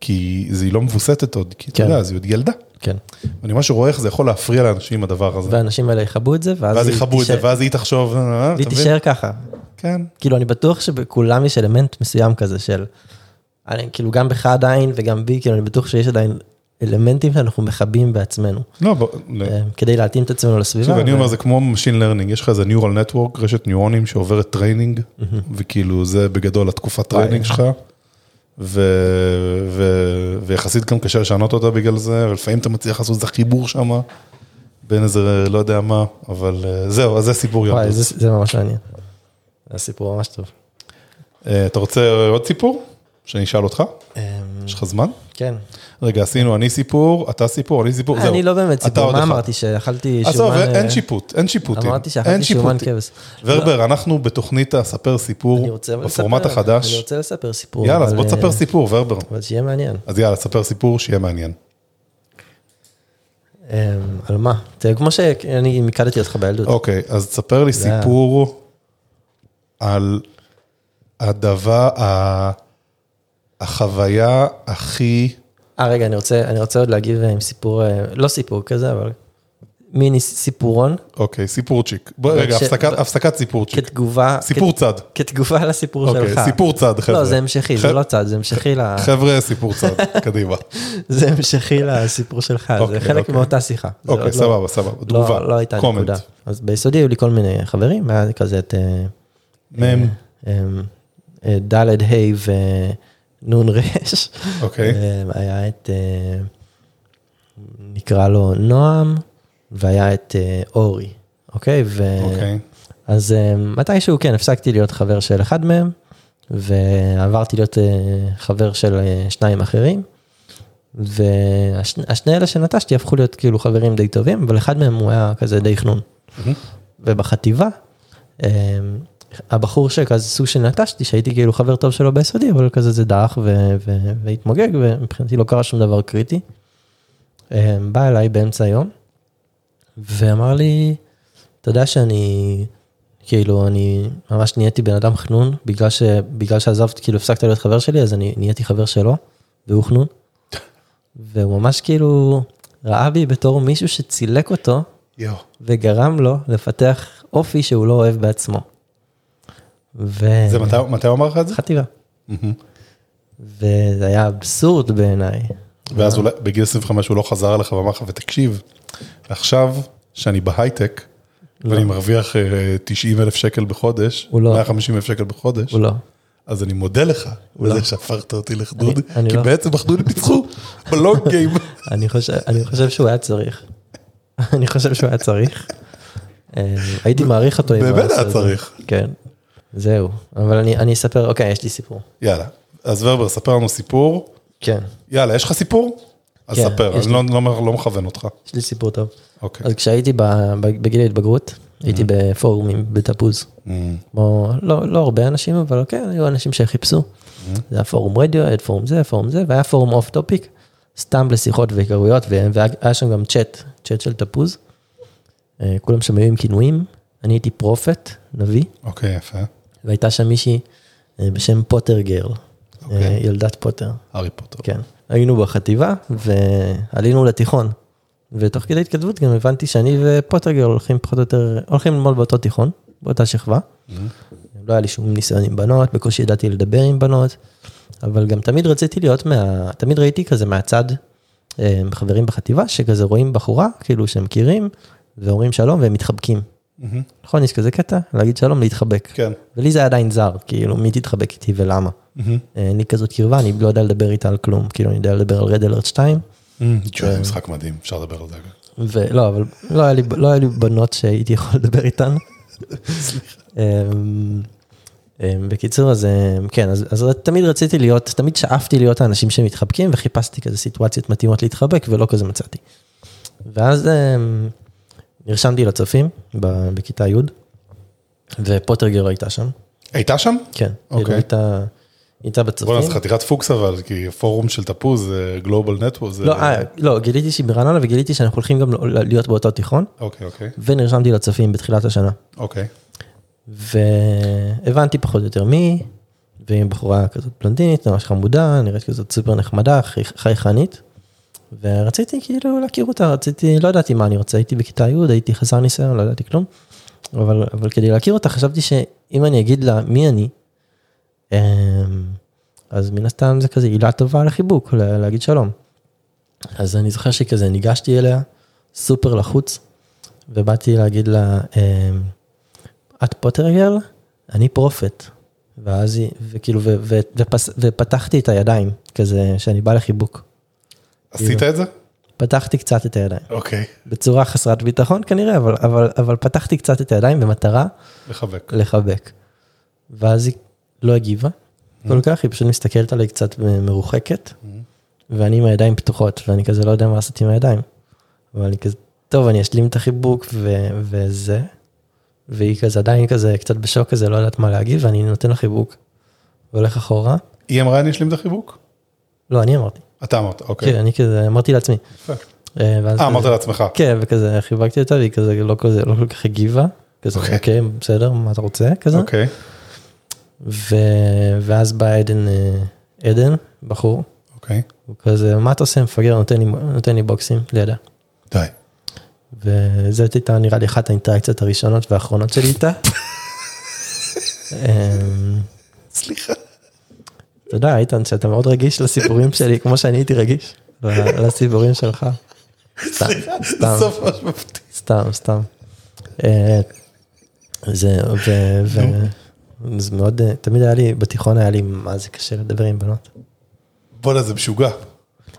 [SPEAKER 1] כי זה- היא לא מבוסתת עוד, כי אתה
[SPEAKER 2] כן.
[SPEAKER 1] יודע, אז היא עוד ילדה.
[SPEAKER 2] כן.
[SPEAKER 1] אני ממש רואה איך זה יכול להפריע לאנשים הדבר הזה.
[SPEAKER 2] והאנשים האלה יכבו את זה, ואז,
[SPEAKER 1] ואז
[SPEAKER 2] היא
[SPEAKER 1] יכבו את זה,
[SPEAKER 2] תישאר-
[SPEAKER 1] ואז היא תחשוב, אה, אה,
[SPEAKER 2] והיא
[SPEAKER 1] אתה מבין?
[SPEAKER 2] תישאר ככה.
[SPEAKER 1] כן.
[SPEAKER 2] כאילו, אני בטוח שבכולם יש אלמנט מסוים כזה של, אני, כאילו, גם בך עדיין וגם בי, כאילו, אני בטוח שיש עדיין אלמנטים שאנחנו מכבים בעצמנו,
[SPEAKER 1] לא, בוא- לא.
[SPEAKER 2] אה, כדי להתאים את עצמנו לסביבה.
[SPEAKER 1] תקשיב, אני
[SPEAKER 2] ו-
[SPEAKER 1] אומר, זה כמו Machine Learning, יש לך איזה Neural Network, רשת ניורונים שעוברת טריינינג, וכאילו זה בגדול התקופת
[SPEAKER 2] וואי.
[SPEAKER 1] טריינינג שלך, ו... ו... ויחסית גם קשה לשנות אותה בגלל זה, ולפעמים אתה מצליח לעשות איזה חיבור שם, בין איזה לא יודע מה, אבל אה, זהו, אז זה סיפור
[SPEAKER 2] וואי, זה,
[SPEAKER 1] ילדות.
[SPEAKER 2] זה ממש מעניין. זה סיפור ממש טוב.
[SPEAKER 1] אה, אתה רוצה עוד סיפור? שאני אשאל אותך?
[SPEAKER 2] אה,
[SPEAKER 1] יש לך זמן?
[SPEAKER 2] כן.
[SPEAKER 1] רגע, עשינו אני סיפור, אתה סיפור, אני סיפור, זהו.
[SPEAKER 2] אני לא באמת
[SPEAKER 1] אתה
[SPEAKER 2] סיפור,
[SPEAKER 1] עוד
[SPEAKER 2] מה
[SPEAKER 1] אחד.
[SPEAKER 2] אמרתי? שאכלתי שומן...
[SPEAKER 1] עזוב, אין-
[SPEAKER 2] אה,
[SPEAKER 1] אין שיפוט, אין שיפוטים.
[SPEAKER 2] אמרתי
[SPEAKER 1] אין
[SPEAKER 2] שאכלתי שומן
[SPEAKER 1] שיפוטים.
[SPEAKER 2] כבש.
[SPEAKER 1] ורבר, אנחנו בתוכנית הספר
[SPEAKER 2] אני
[SPEAKER 1] סיפור,
[SPEAKER 2] רוצה אבל
[SPEAKER 1] בפורמט
[SPEAKER 2] לספר,
[SPEAKER 1] החדש.
[SPEAKER 2] אני רוצה לספר סיפור.
[SPEAKER 1] יאללה, אז
[SPEAKER 2] אבל,
[SPEAKER 1] בוא
[SPEAKER 2] אה,
[SPEAKER 1] תספר סיפור, ורבר.
[SPEAKER 2] אבל שיהיה מעניין.
[SPEAKER 1] אז יאללה, ספר סיפור שיהיה מעניין.
[SPEAKER 2] אה, על מה? תראה, כמו שאני מיקדתי אותך בילדות.
[SPEAKER 1] אוקיי, אז תספר לי
[SPEAKER 2] זה ה-
[SPEAKER 1] סיפור על הדבר, ה- החוויה הכי...
[SPEAKER 2] אה, רגע, אני רוצה, אני רוצה עוד להגיב עם סיפור, אה, לא סיפור כזה, אבל מיני סיפורון,
[SPEAKER 1] אוקיי, סיפורצ'יק. בוא,
[SPEAKER 2] אבל
[SPEAKER 1] רגע,
[SPEAKER 2] כש-
[SPEAKER 1] הפסקת-
[SPEAKER 2] ב-
[SPEAKER 1] הפסקת סיפורצ'יק.
[SPEAKER 2] כתגובה,
[SPEAKER 1] סיפור
[SPEAKER 2] כת,
[SPEAKER 1] צד.
[SPEAKER 2] כתגובה לסיפור
[SPEAKER 1] אוקיי,
[SPEAKER 2] שלך.
[SPEAKER 1] סיפור צד, חבר'ה.
[SPEAKER 2] לא, זה המשכי,
[SPEAKER 1] ח-
[SPEAKER 2] זה לא צד, זה המשכי, ל...
[SPEAKER 1] חבר'ה, סיפור
[SPEAKER 2] <laughs>
[SPEAKER 1] צד, קדימה.
[SPEAKER 2] זה המשכי לסיפור שלך,
[SPEAKER 1] אוקיי,
[SPEAKER 2] זה חלק
[SPEAKER 1] אוקיי.
[SPEAKER 2] מאותה שיחה. זה
[SPEAKER 1] אוקיי,
[SPEAKER 2] עוד לא-
[SPEAKER 1] סבבה, סבבה. תגובה.
[SPEAKER 2] לא, לא הייתה
[SPEAKER 1] comment.
[SPEAKER 2] נקודה. אז ביסודי היו לי כל מיני חברים, היה כזה את אה,
[SPEAKER 1] מם,
[SPEAKER 2] אה, אה, ד' ה' ונ' ר'.
[SPEAKER 1] אוקיי.
[SPEAKER 2] אה, היה את, אה, נקרא לו נועם, והיה את אה, אורי, אוקיי? ו...
[SPEAKER 1] אוקיי.
[SPEAKER 2] אז אה, מתישהו, כן, הפסקתי להיות חבר של אחד מהם, ועברתי להיות אה, חבר של אה, שניים אחרים. והשני אלה שנטשתי הפכו להיות כאילו חברים די טובים, אבל אחד מהם הוא היה כזה די חנון. ובחטיבה, אה, הבחור שכזה סוג של נטשתי, שהייתי כאילו חבר טוב שלו ביסודי, אבל כזה זה דעך ו- ו- והתמוגג, ומבחינתי לא קרה שום דבר קריטי. אה, בא אליי באמצע היום, ואמר לי, אתה יודע שאני, כאילו, אני ממש נהייתי בן אדם חנון, בגלל, ש, בגלל שעזבת, כאילו, הפסקת להיות חבר שלי, אז אני נהייתי חבר שלו, והוא חנון. והוא ממש כאילו ראה בי בתור מישהו שצילק אותו,
[SPEAKER 1] יואו.
[SPEAKER 2] וגרם לו לפתח אופי שהוא לא אוהב בעצמו. ו...
[SPEAKER 1] זה מתי- מתי הוא אמר לך את זה?
[SPEAKER 2] חטיבה. וזה היה אבסורד בעיניי.
[SPEAKER 1] ואז אולי בגיל 25 הוא לא חזר אליך ואמר לך, ותקשיב, עכשיו שאני בהייטק, ואני מרוויח 90 אלף שקל בחודש,
[SPEAKER 2] לא. הוא לא.
[SPEAKER 1] 150 אלף שקל בחודש,
[SPEAKER 2] הוא לא.
[SPEAKER 1] אז אני מודה לך על זה שהפכת אותי לחדוד,
[SPEAKER 2] אני- אני
[SPEAKER 1] כי
[SPEAKER 2] לא.
[SPEAKER 1] בעצם החדודים ניצחו בלונג
[SPEAKER 2] <laughs>
[SPEAKER 1] גיים.
[SPEAKER 2] אני חושב, אני חושב שהוא היה צריך. <laughs> אני חושב שהוא היה צריך. אה, הייתי מעריך אותו. אם הוא
[SPEAKER 1] באמת היה
[SPEAKER 2] עושה את זה.
[SPEAKER 1] צריך.
[SPEAKER 2] כן. זהו. אבל אני, אני אספר, אוקיי, יש לי סיפור.
[SPEAKER 1] יאללה, אז ורבר, ספר לנו סיפור.
[SPEAKER 2] כן.
[SPEAKER 1] יאללה, יש לך סיפור? אז
[SPEAKER 2] כן,
[SPEAKER 1] ספר,
[SPEAKER 2] יש
[SPEAKER 1] אני לא- לא לא מכוון אותך.
[SPEAKER 2] יש לי סיפור טוב.
[SPEAKER 1] אוקיי.
[SPEAKER 2] אז כשהייתי ב- בגיל ההתבגרות, הייתי בפורומים בתפוז. כמו, לא, לא הרבה אנשים, אבל כן, היו אנשים שחיפשו. זה היה פורום רדיו, היה פורום זה, פורום זה, והיה פורום אוף טופיק, סתם לשיחות והיכרויות, ו- והיה שם גם צ'אט, צ'אט של תפוז. אה, כולם שם היו עם כינויים, אני הייתי פרופט, נביא,
[SPEAKER 1] אוקיי, יפה.
[SPEAKER 2] והייתה שם מישהי אה, בשם פוטר גרל, אה,
[SPEAKER 1] אוקיי.
[SPEAKER 2] ילדת פוטר.
[SPEAKER 1] הארי פוטר.
[SPEAKER 2] כן. היינו בחטיבה ועלינו לתיכון. ותוך כדי התכתבות גם הבנתי שאני ופוטרגר הולכים פחות או יותר, הולכים ללמוד באותו תיכון, באותה שכבה. לא היה לי שום ניסיון עם בנות, בקושי ידעתי לדבר עם בנות, אבל גם תמיד רציתי להיות מה... תמיד ראיתי כזה מהצד אה, חברים בחטיבה, שכזה רואים בחורה, כאילו שהם מכירים, ואומרים שלום והם מתחבקים.
[SPEAKER 1] מהמם.
[SPEAKER 2] נכון, יש כזה קטע, להגיד שלום, להתחבק.
[SPEAKER 1] כן.
[SPEAKER 2] ולי זה היה עדיין זר, כאילו, מי תתחבק איתי ולמה. אין לי כזאת קרבה, אני לא יודע לדבר איתה על כלום, כאילו, אני יודע לדבר על רד אלרט 2,
[SPEAKER 1] אה, זה משחק מדהים, אפשר לדבר על זה.
[SPEAKER 2] ולא, אבל לא היה לי, לא היה לי בנות שהייתי יכול לדבר איתן. אמ, אמ, בקיצור, אז אמ, כן, אז, אז תמיד רציתי להיות, תמיד שאפתי להיות האנשים שמתחבקים, וחיפשתי כזה סיטואציות מתאימות להתחבק, ולא כזה מצאתי. ואז אמ, נרשמתי לצופים ב- בכיתה י', ופוטרגר לא הייתה שם,
[SPEAKER 1] הייתה שם?
[SPEAKER 2] כן, כאילו,
[SPEAKER 1] אוקיי.
[SPEAKER 2] הייתה, הייתה
[SPEAKER 1] בוא'נה,
[SPEAKER 2] בצופים.
[SPEAKER 1] אז חתיכת פוקס אבל, כי הפורום של תפוז, זה Global Network, זה...
[SPEAKER 2] לא, אה, לא, גיליתי שהיא ברעננה וגיליתי שאנחנו הולכים גם ל- להיות באותו תיכון,
[SPEAKER 1] אוקיי, אוקיי,
[SPEAKER 2] ונרשמתי לצופים בתחילת השנה.
[SPEAKER 1] אוקיי.
[SPEAKER 2] והבנתי פחות או יותר מי, ועם בחורה כזאת בלונדינית, ממש חמודה, נראית כזאת סופר נחמדה, חי- חייכנית. ורציתי כאילו להכיר אותה, רציתי, לא ידעתי מה אני רוצה, הייתי בכיתה י', הייתי חסר ניסיון, לא ידעתי כלום. אבל, אבל כדי להכיר אותה חשבתי שאם אני אגיד לה מי אני, אמ, אז מן הסתם זה כזה עילה טובה לחיבוק, לה- להגיד שלום. אז אני זוכר שכזה ניגשתי אליה, סופר לחוץ, ובאתי להגיד לה, אמ, את פוטרגר? אני פרופט. ואז היא, וכאילו, ו, ו, ופס, ופתחתי את הידיים, כזה, שאני בא לחיבוק.
[SPEAKER 1] עשית את זה?
[SPEAKER 2] פתחתי קצת את הידיים,
[SPEAKER 1] אוקיי.
[SPEAKER 2] בצורה חסרת ביטחון כנראה, אבל, אבל, אבל פתחתי קצת את הידיים במטרה
[SPEAKER 1] לחבק.
[SPEAKER 2] לחבק. ואז היא לא הגיבה
[SPEAKER 1] Mm-hmm.
[SPEAKER 2] כל כך, היא פשוט מסתכלת עליי קצת מרוחקת,
[SPEAKER 1] Mm-hmm.
[SPEAKER 2] ואני עם הידיים פתוחות, ואני כזה לא יודע מה לעשות עם הידיים. אבל אני כזה, טוב, אני אשלים את החיבוק ו- וזה, והיא כזה עדיין כזה קצת בשוק כזה, לא יודעת מה להגיד, ואני נותן לה חיבוק, והולך אחורה.
[SPEAKER 1] היא אמרה אני אשלים את החיבוק?
[SPEAKER 2] לא, אני אמרתי.
[SPEAKER 1] אתה אמרת, אוקיי.
[SPEAKER 2] כן, אני כזה, אמרתי לעצמי. אה, ואז
[SPEAKER 1] אה,
[SPEAKER 2] כזה-
[SPEAKER 1] אמרת לעצמך.
[SPEAKER 2] כן, וכזה חיבקתי אותה, והיא כזה לא כזה, לא כל כך הגיבה. כזה,
[SPEAKER 1] אוקיי.
[SPEAKER 2] אוקיי, בסדר, מה אתה רוצה? כזה.
[SPEAKER 1] אוקיי.
[SPEAKER 2] ו... ואז בא עדן, אה, עדן, בחור,
[SPEAKER 1] אוקיי.
[SPEAKER 2] הוא כזה, מה אתה עושה מפגר, נותן לי, נותן לי בוקסים לידה.
[SPEAKER 1] די.
[SPEAKER 2] וזאת הייתה נראה לי אחת האינטראקציות הראשונות והאחרונות שלי איתה. אמ,
[SPEAKER 1] סליחה.
[SPEAKER 2] אתה יודע, איתן, שאתה מאוד רגיש לסיפורים שלי, כמו שאני הייתי רגיש ל- לסיפורים שלך. סתם, סתם,
[SPEAKER 1] סוף ממש מפתיע.
[SPEAKER 2] סתם, סתם. אה, זה, ו... ו- זה מאוד, אה, תמיד היה לי, בתיכון היה לי, מה זה קשה לדבר עם בנות.
[SPEAKER 1] בוא'נה, זה משוגע.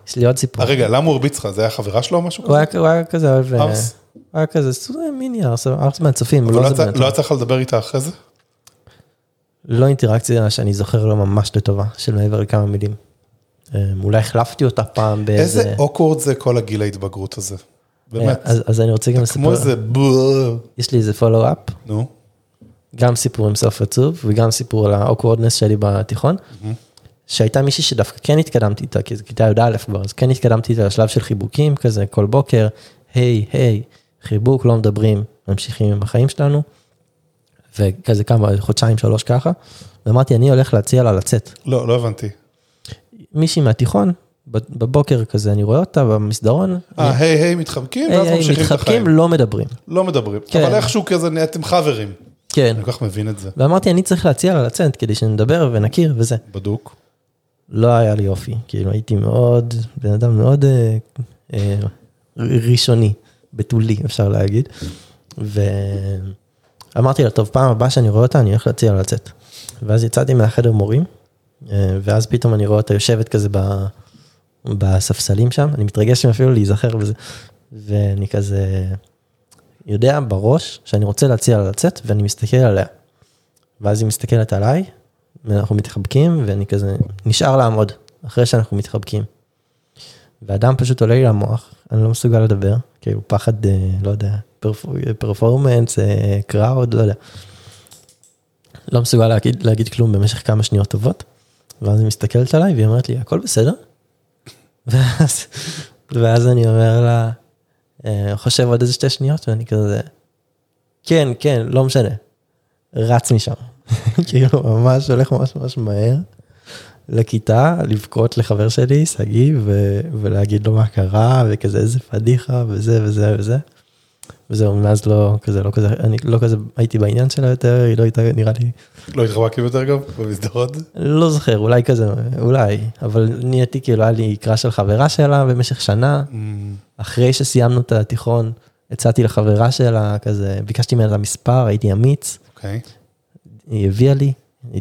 [SPEAKER 2] יש לי עוד סיפור.
[SPEAKER 1] אה, רגע, למה הוא הרביץ לך? זה היה חברה שלו או משהו
[SPEAKER 2] הוא
[SPEAKER 1] כזה?
[SPEAKER 2] היה, הוא היה כזה אוהב... אה,
[SPEAKER 1] ארס?
[SPEAKER 2] הוא היה כזה סוג אה, מיני ארס, ארס מהצופים, הוא
[SPEAKER 1] אבל
[SPEAKER 2] לא
[SPEAKER 1] לא
[SPEAKER 2] זה
[SPEAKER 1] יצא-
[SPEAKER 2] באמת. אה,
[SPEAKER 1] לא יצא לך לדבר איתה אחרי זה?
[SPEAKER 2] לא אינטראקציה שאני זוכר לא ממש לטובה, של מעבר לכמה מילים. אמ, אולי החלפתי אותה פעם באיזה...
[SPEAKER 1] איזה אוקוורד זה כל הגיל ההתבגרות הזה. באמת.
[SPEAKER 2] אה, אז, אז אני רוצה גם לספר,
[SPEAKER 1] כמו איזה בור.
[SPEAKER 2] יש לי איזה פולו-אפ,
[SPEAKER 1] נו.
[SPEAKER 2] גם סיפור עם סוף עצוב וגם סיפור על האוקוורדנס שלי בתיכון, שהייתה מישהי שדווקא כן התקדמתי איתה, כי זה כיתה י"א כבר, אז כן התקדמתי איתה לשלב של חיבוקים כזה כל בוקר, היי, היי, חיבוק, לא מדברים, ממשיכים עם החיים שלנו, וכזה כמה, חודשיים, שלוש ככה, ואמרתי, אני הולך להציע לה לצאת.
[SPEAKER 1] לא, לא הבנתי.
[SPEAKER 2] מישהי מהתיכון, בב- בבוקר כזה אני רואה אותה במסדרון,
[SPEAKER 1] אה, היי, היי, מתחבקים, ואז
[SPEAKER 2] היי, היי,
[SPEAKER 1] ממשיכים את החיים.
[SPEAKER 2] מתחבקים, לא מדברים.
[SPEAKER 1] לא מדברים.
[SPEAKER 2] כן.
[SPEAKER 1] אבל איכשהו כזה נהייתם חברים.
[SPEAKER 2] כן.
[SPEAKER 1] אני כל כך מבין את זה.
[SPEAKER 2] ואמרתי, אני צריך להציע לה לצאת כדי שנדבר ונכיר וזה.
[SPEAKER 1] בדוק.
[SPEAKER 2] לא היה לי אופי, כאילו הייתי מאוד, בן אדם מאוד אה, אה, ראשוני, בתולי אפשר להגיד. ואמרתי לה, טוב, פעם הבאה שאני רואה אותה, אני הולך להציע לה לצאת. ואז יצאתי מהחדר מורים, אה, ואז פתאום אני רואה אותה יושבת כזה ב... בספסלים שם, אני מתרגש אפילו להיזכר בזה. ואני כזה יודע בראש שאני רוצה להציע לה לצאת, ואני מסתכל עליה. ואז היא מסתכלת עליי, ואנחנו מתחבקים, ואני כזה נשאר לעמוד, אחרי שאנחנו מתחבקים. והדם פשוט עולה לי למוח, אני לא מסוגל לדבר, כאילו פחד, אה, לא יודע, פרפור- פרפורמנס, אה, קראוד, לא יודע. לא מסוגל להגיד, להגיד כלום במשך כמה שניות טובות, ואז היא מסתכלת עליי והיא אומרת לי, הכל בסדר? <laughs> ואז, ואז אני אומר לה, "אה, חושב עוד איזה שתי שניות, ואני כזה, כן, כן, לא משנה. רץ משם. כאילו, ממש הולך ממש ממש מהר לכיתה, לבכות לחבר שלי, שגיא, ו- ולהגיד לו מה קרה, וכזה איזה פדיחה, וזה וזה וזה. וזהו, מאז לא כזה, לא כזה, אני לא כזה הייתי בעניין שלה יותר, היא לא הייתה, נראה לי,
[SPEAKER 1] לא התחבקתי יותר גם במסדרון?
[SPEAKER 2] לא זוכר, אולי כזה, אולי, אבל נהייתי כאילו, היה לי קרא של חברה שלה במשך שנה, אחרי שסיימנו את התיכון, הצעתי לחברה שלה, כזה, ביקשתי ממנה את המספר, הייתי אמיץ,
[SPEAKER 1] אוקיי.
[SPEAKER 2] היא הביאה לי,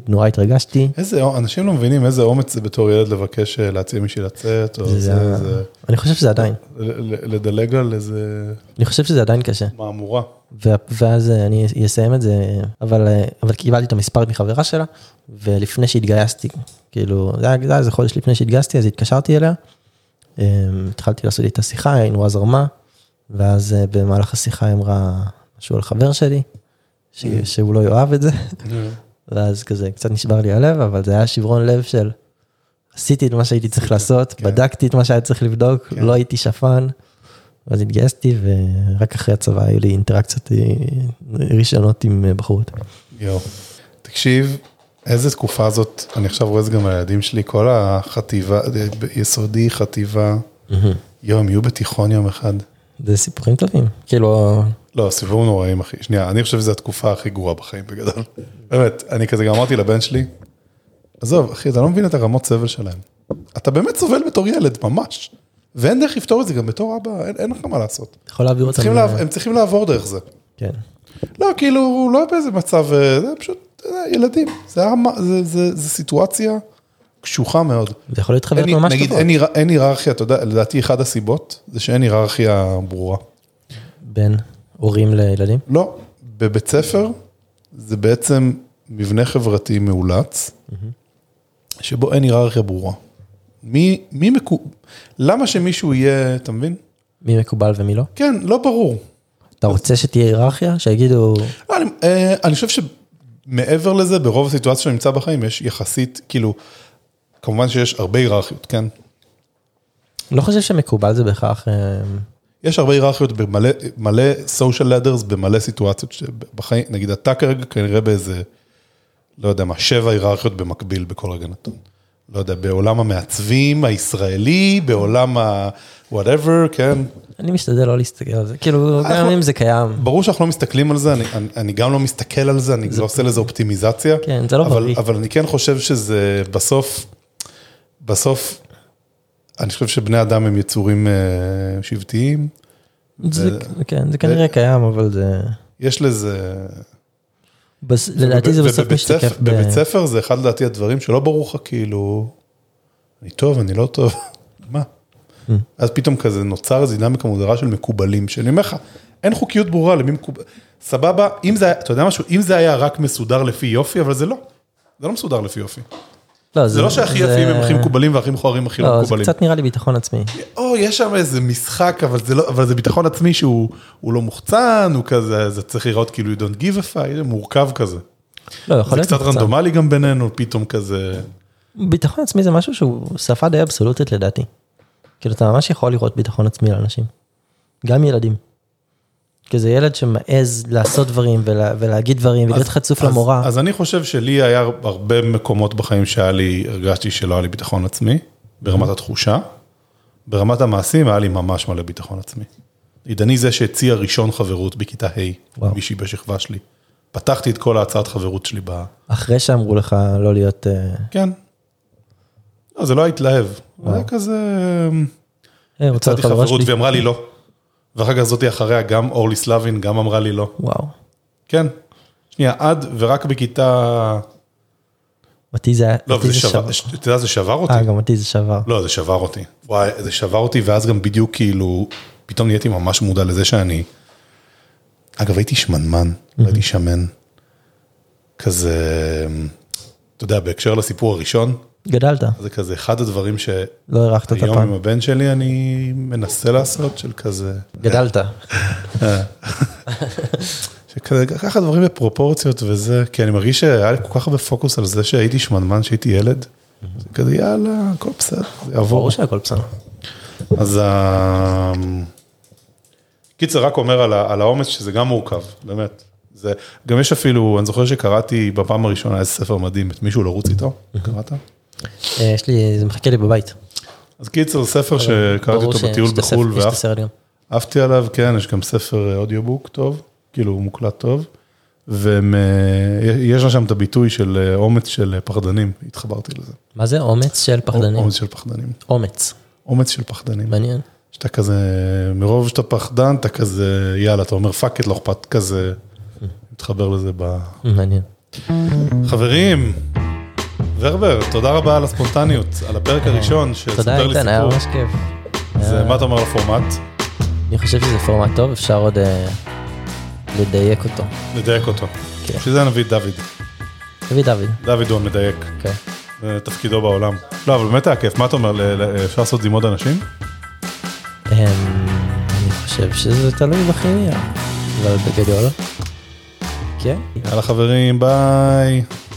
[SPEAKER 2] נורא התרגשתי.
[SPEAKER 1] איזה, אנשים לא מבינים איזה אומץ זה בתור ילד לבקש אה, להציע מישהי לצאת, או
[SPEAKER 2] זה-
[SPEAKER 1] זה, זה,
[SPEAKER 2] אני חושב שזה עדיין,
[SPEAKER 1] ל- ל- לדלג על איזה
[SPEAKER 2] אני חושב שזה עדיין קשה.
[SPEAKER 1] מהמורה.
[SPEAKER 2] וה- ואז אה, אני אסיים את זה, אבל, אה, אבל קיבלתי את המספר מחברה שלה, ולפני שהתגייסתי, כאילו, זה היה זה היה איזה חודש לפני שהתגייסתי, אז התקשרתי אליה, אה, התחלתי לעשות איתה שיחה, היא נורא זרמה, ואז אה, במהלך השיחה היא אמרה משהו על חבר שלי, ש- שהוא לא יאהב את זה, ואז כזה קצת נשבר לי הלב, אבל זה היה שברון לב של עשיתי את מה שהייתי צריך
[SPEAKER 1] כן.
[SPEAKER 2] לעשות, בדקתי את מה שהיה צריך לבדוק, לא הייתי שפן. ואז התגייסתי, ורק אחרי הצבא היו לי אינטראקציות אה, ראשונות עם אה, בחורות.
[SPEAKER 1] יואו. תקשיב, איזה תקופה זאת, אני עכשיו רואה את זה גם על הילדים שלי, כל החטיבה, יסודי, חטיבה, יואו, הם יהיו בתיכון יום אחד.
[SPEAKER 2] זה סיפורים טובים, כאילו,
[SPEAKER 1] לא, סיפורים נוראים, אחי. שנייה, אני חושב שזו התקופה הכי גרועה בחיים בגדול. באמת, אני כזה גם אמרתי לבן שלי, עזוב, אחי, אתה לא מבין את הרמות סבל שלהם. אתה באמת סובל בתור ילד, ממש. ואין דרך לפתור את זה, גם בתור אבא, אין- אין לך מה לעשות.
[SPEAKER 2] אתה יכול להעביר אותם.
[SPEAKER 1] צריכים
[SPEAKER 2] אה,
[SPEAKER 1] לעב- הם צריכים לעבור דרך זה.
[SPEAKER 2] כן.
[SPEAKER 1] לא, כאילו, הוא לא באיזה מצב, אה, זה פשוט, אתה יודע, ילדים. זה הרמה- זה- זה- זה סיטואציה קשוחה מאוד.
[SPEAKER 2] זה יכול להיות חוויות
[SPEAKER 1] אין-
[SPEAKER 2] ממש
[SPEAKER 1] נגיד,
[SPEAKER 2] טובות.
[SPEAKER 1] אין היר- אין היררכיה, אתה יודע, לדעתי אחת הסיבות, זה שאין היררכיה ברורה.
[SPEAKER 2] בין הורים לילדים.
[SPEAKER 1] לא, בבית ספר זה בעצם מבנה חברתי מאולץ, שבו אין היררכיה ברורה. מי, מי מקו... למה שמישהו יהיה, אתה מבין?
[SPEAKER 2] מי מקובל ומי לא.
[SPEAKER 1] כן, לא ברור.
[SPEAKER 2] אתה רוצה שתהיה היררכיה? שיגידו,
[SPEAKER 1] לא, אני, אה, אני חושב שמעבר לזה, ברוב הסיטואציות שאני נמצא בחיים יש יחסית, כאילו, כמובן שיש הרבה היררכיות, כן?
[SPEAKER 2] לא חושב שמקובל זה בהכרח, אה,
[SPEAKER 1] יש הרבה היררכיות במלא מלא social ladders במלא סיטואציות שבחיים, נגיד אתה כרגע כנראה באיזה, לא יודע מה, שבע היררכיות במקביל בכל רגע נתון. לא יודע, בעולם המעצבים הישראלי, בעולם ה... whatever, כן.
[SPEAKER 2] אני משתדל לא להסתכל על זה, כאילו, גם
[SPEAKER 1] אנחנו-
[SPEAKER 2] אם זה קיים.
[SPEAKER 1] ברור שאנחנו לא מסתכלים על זה, אני, אני, אני גם לא מסתכל על זה, אני לא עושה לזה אופטימיזציה.
[SPEAKER 2] כן, זה לא
[SPEAKER 1] אבל,
[SPEAKER 2] בריא.
[SPEAKER 1] אבל אני כן חושב שזה בסוף, בסוף, אני חושב שבני אדם הם יצורים אה, שבטיים.
[SPEAKER 2] זה,
[SPEAKER 1] ו-
[SPEAKER 2] כן, זה כנראה קיים, אבל זה...
[SPEAKER 1] יש לזה,
[SPEAKER 2] בס... לדעתי זה
[SPEAKER 1] וב-
[SPEAKER 2] בסוף
[SPEAKER 1] ובבית
[SPEAKER 2] משתקף
[SPEAKER 1] ספר- בבית ספר זה אחד לדעתי הדברים שלא ברור לך כאילו, אני טוב, אני לא טוב, <laughs> מה?
[SPEAKER 2] Mm.
[SPEAKER 1] אז פתאום כזה נוצר איזו דינמיקה מודרה של מקובלים, שאני אומר לך, אין חוקיות ברורה למי מקובל, סבבה, אם זה, היה- אתה יודע משהו, אם זה היה רק מסודר לפי יופי, אבל זה לא, זה לא מסודר לפי יופי. זה לא שהכי יפים הם הכי מקובלים והכי מכוערים הכי לא
[SPEAKER 2] לא, זה
[SPEAKER 1] מקובלים.
[SPEAKER 2] קצת נראה לי ביטחון עצמי.
[SPEAKER 1] או, יש שם איזה משחק, אבל זה, לא, אבל זה ביטחון עצמי שהוא הוא לא מוחצן, הוא כזה, זה צריך להיראות כאילו you don't give a fight, זה מורכב כזה.
[SPEAKER 2] לא, יכול
[SPEAKER 1] זה
[SPEAKER 2] להיות
[SPEAKER 1] קצת רנדומלי גם בינינו, פתאום כזה...
[SPEAKER 2] ביטחון עצמי זה משהו שהוא שפה די אבסולוטית לדעתי. כאילו אתה ממש יכול לראות ביטחון עצמי לאנשים. גם ילדים. כי זה ילד שמעז לעשות דברים ולה, ולהגיד דברים ולהיות חצוף למורה.
[SPEAKER 1] אז, אז אני חושב שלי היה הרבה מקומות בחיים שהיה לי, הרגשתי שלא היה לי ביטחון עצמי, ברמת התחושה. ברמת המעשים היה לי ממש מלא ביטחון עצמי. נגיד, אני זה שהציע ראשון חברות בכיתה ה',
[SPEAKER 2] וואו.
[SPEAKER 1] מישהי בשכבה שלי. פתחתי את כל ההצעת חברות שלי ב...
[SPEAKER 2] אחרי שאמרו לך לא להיות... אה,
[SPEAKER 1] כן. לא, זה לא היה התלהב. זה היה כזה...
[SPEAKER 2] "אה, רוצה
[SPEAKER 1] הצעתי
[SPEAKER 2] להיות חברה
[SPEAKER 1] חברות
[SPEAKER 2] שלי?"
[SPEAKER 1] והיא אמרה לי לא. ואחר כך זאתי אחריה, גם אורלי סלבין, גם אמרה לי לא.
[SPEAKER 2] וואו.
[SPEAKER 1] כן. שנייה, עד ורק בכיתה...
[SPEAKER 2] אותי זה היה...
[SPEAKER 1] לא,
[SPEAKER 2] אותי
[SPEAKER 1] וזה
[SPEAKER 2] זה
[SPEAKER 1] שבר,
[SPEAKER 2] שבר.
[SPEAKER 1] ש- אתה יודע, זה שבר אותי.
[SPEAKER 2] אה, גם אותי זה שבר.
[SPEAKER 1] לא, זה שבר אותי. וואי, זה שבר אותי, ואז גם בדיוק כאילו, פתאום נהייתי ממש מודע לזה שאני... אגב, הייתי שמנמן, הייתי שמן. כזה, אתה יודע, בהקשר לסיפור הראשון,
[SPEAKER 2] גדלת,
[SPEAKER 1] זה כזה אחד הדברים שהיום
[SPEAKER 2] לא הארכת את
[SPEAKER 1] עם
[SPEAKER 2] הפעם.
[SPEAKER 1] הבן שלי אני מנסה לעשות, של כזה...
[SPEAKER 2] גדלת.
[SPEAKER 1] שכזה ככה דברים בפרופורציות וזה, כי אני מרגיש שהיה לי כל כך הרבה פוקוס על זה שהייתי שמנמן, שהייתי ילד. זה כזה יאללה, הכל בסדר, זה יעבור.
[SPEAKER 2] ברור שהכל בסדר.
[SPEAKER 1] אז ה... קיצר, רק אומר על ה- על האומץ שזה גם מורכב, באמת. זה, גם יש אפילו, אני זוכר שקראתי בפעם הראשונה איזה ספר מדהים, את מישהו לרוץ איתו, קראת?
[SPEAKER 2] אה, יש לי, זה מחכה לי בבית.
[SPEAKER 1] אז קיצר, ספר שקראתי
[SPEAKER 2] ברור
[SPEAKER 1] אותו
[SPEAKER 2] שיש
[SPEAKER 1] בטיול
[SPEAKER 2] את הספר-
[SPEAKER 1] בחו"ל,
[SPEAKER 2] יש את
[SPEAKER 1] ואף
[SPEAKER 2] הסרט גם.
[SPEAKER 1] עפתי עליו, כן, יש גם ספר אה, אודיובוק טוב, כאילו הוא מוקלט טוב, אה, ויש לה שם את הביטוי של אה, אומץ של אה, פחדנים, התחברתי לזה.
[SPEAKER 2] מה זה? אומץ של פחדנים.
[SPEAKER 1] אומץ של פחדנים.
[SPEAKER 2] אומץ.
[SPEAKER 1] אומץ של פחדנים.
[SPEAKER 2] מעניין.
[SPEAKER 1] שאתה כזה, מרוב שאתה פחדן, אתה כזה, יאללה, אתה אומר פאק את, לא אכפת, כזה, מתחבר לזה ב...
[SPEAKER 2] מעניין.
[SPEAKER 1] חברים, ורבר, תודה רבה על הספונטניות, על הפרק הראשון
[SPEAKER 2] אה, תודה
[SPEAKER 1] שספר לי
[SPEAKER 2] איתן, היה
[SPEAKER 1] סיפור.
[SPEAKER 2] ממש כיף.
[SPEAKER 1] זה מה אתה אומר לפורמט?
[SPEAKER 2] אני חושב שזה פורמט טוב, אפשר עוד אה, לדייק אותו.
[SPEAKER 1] נדייק אותו.
[SPEAKER 2] כן.
[SPEAKER 1] בשביל זה נביא את דוד.
[SPEAKER 2] דוד דוד,
[SPEAKER 1] דוד הוא המדייק,
[SPEAKER 2] כן.
[SPEAKER 1] זה תפקידו בעולם. לא, אבל באמת היה כיף, מה אתה אומר, ל- ל- אפשר לעשות את זה עם עוד אנשים?
[SPEAKER 2] אמ, אני חושב שזה תלוי בכימיה, אבל בגדול. כן.
[SPEAKER 1] יאללה חברים, ביי.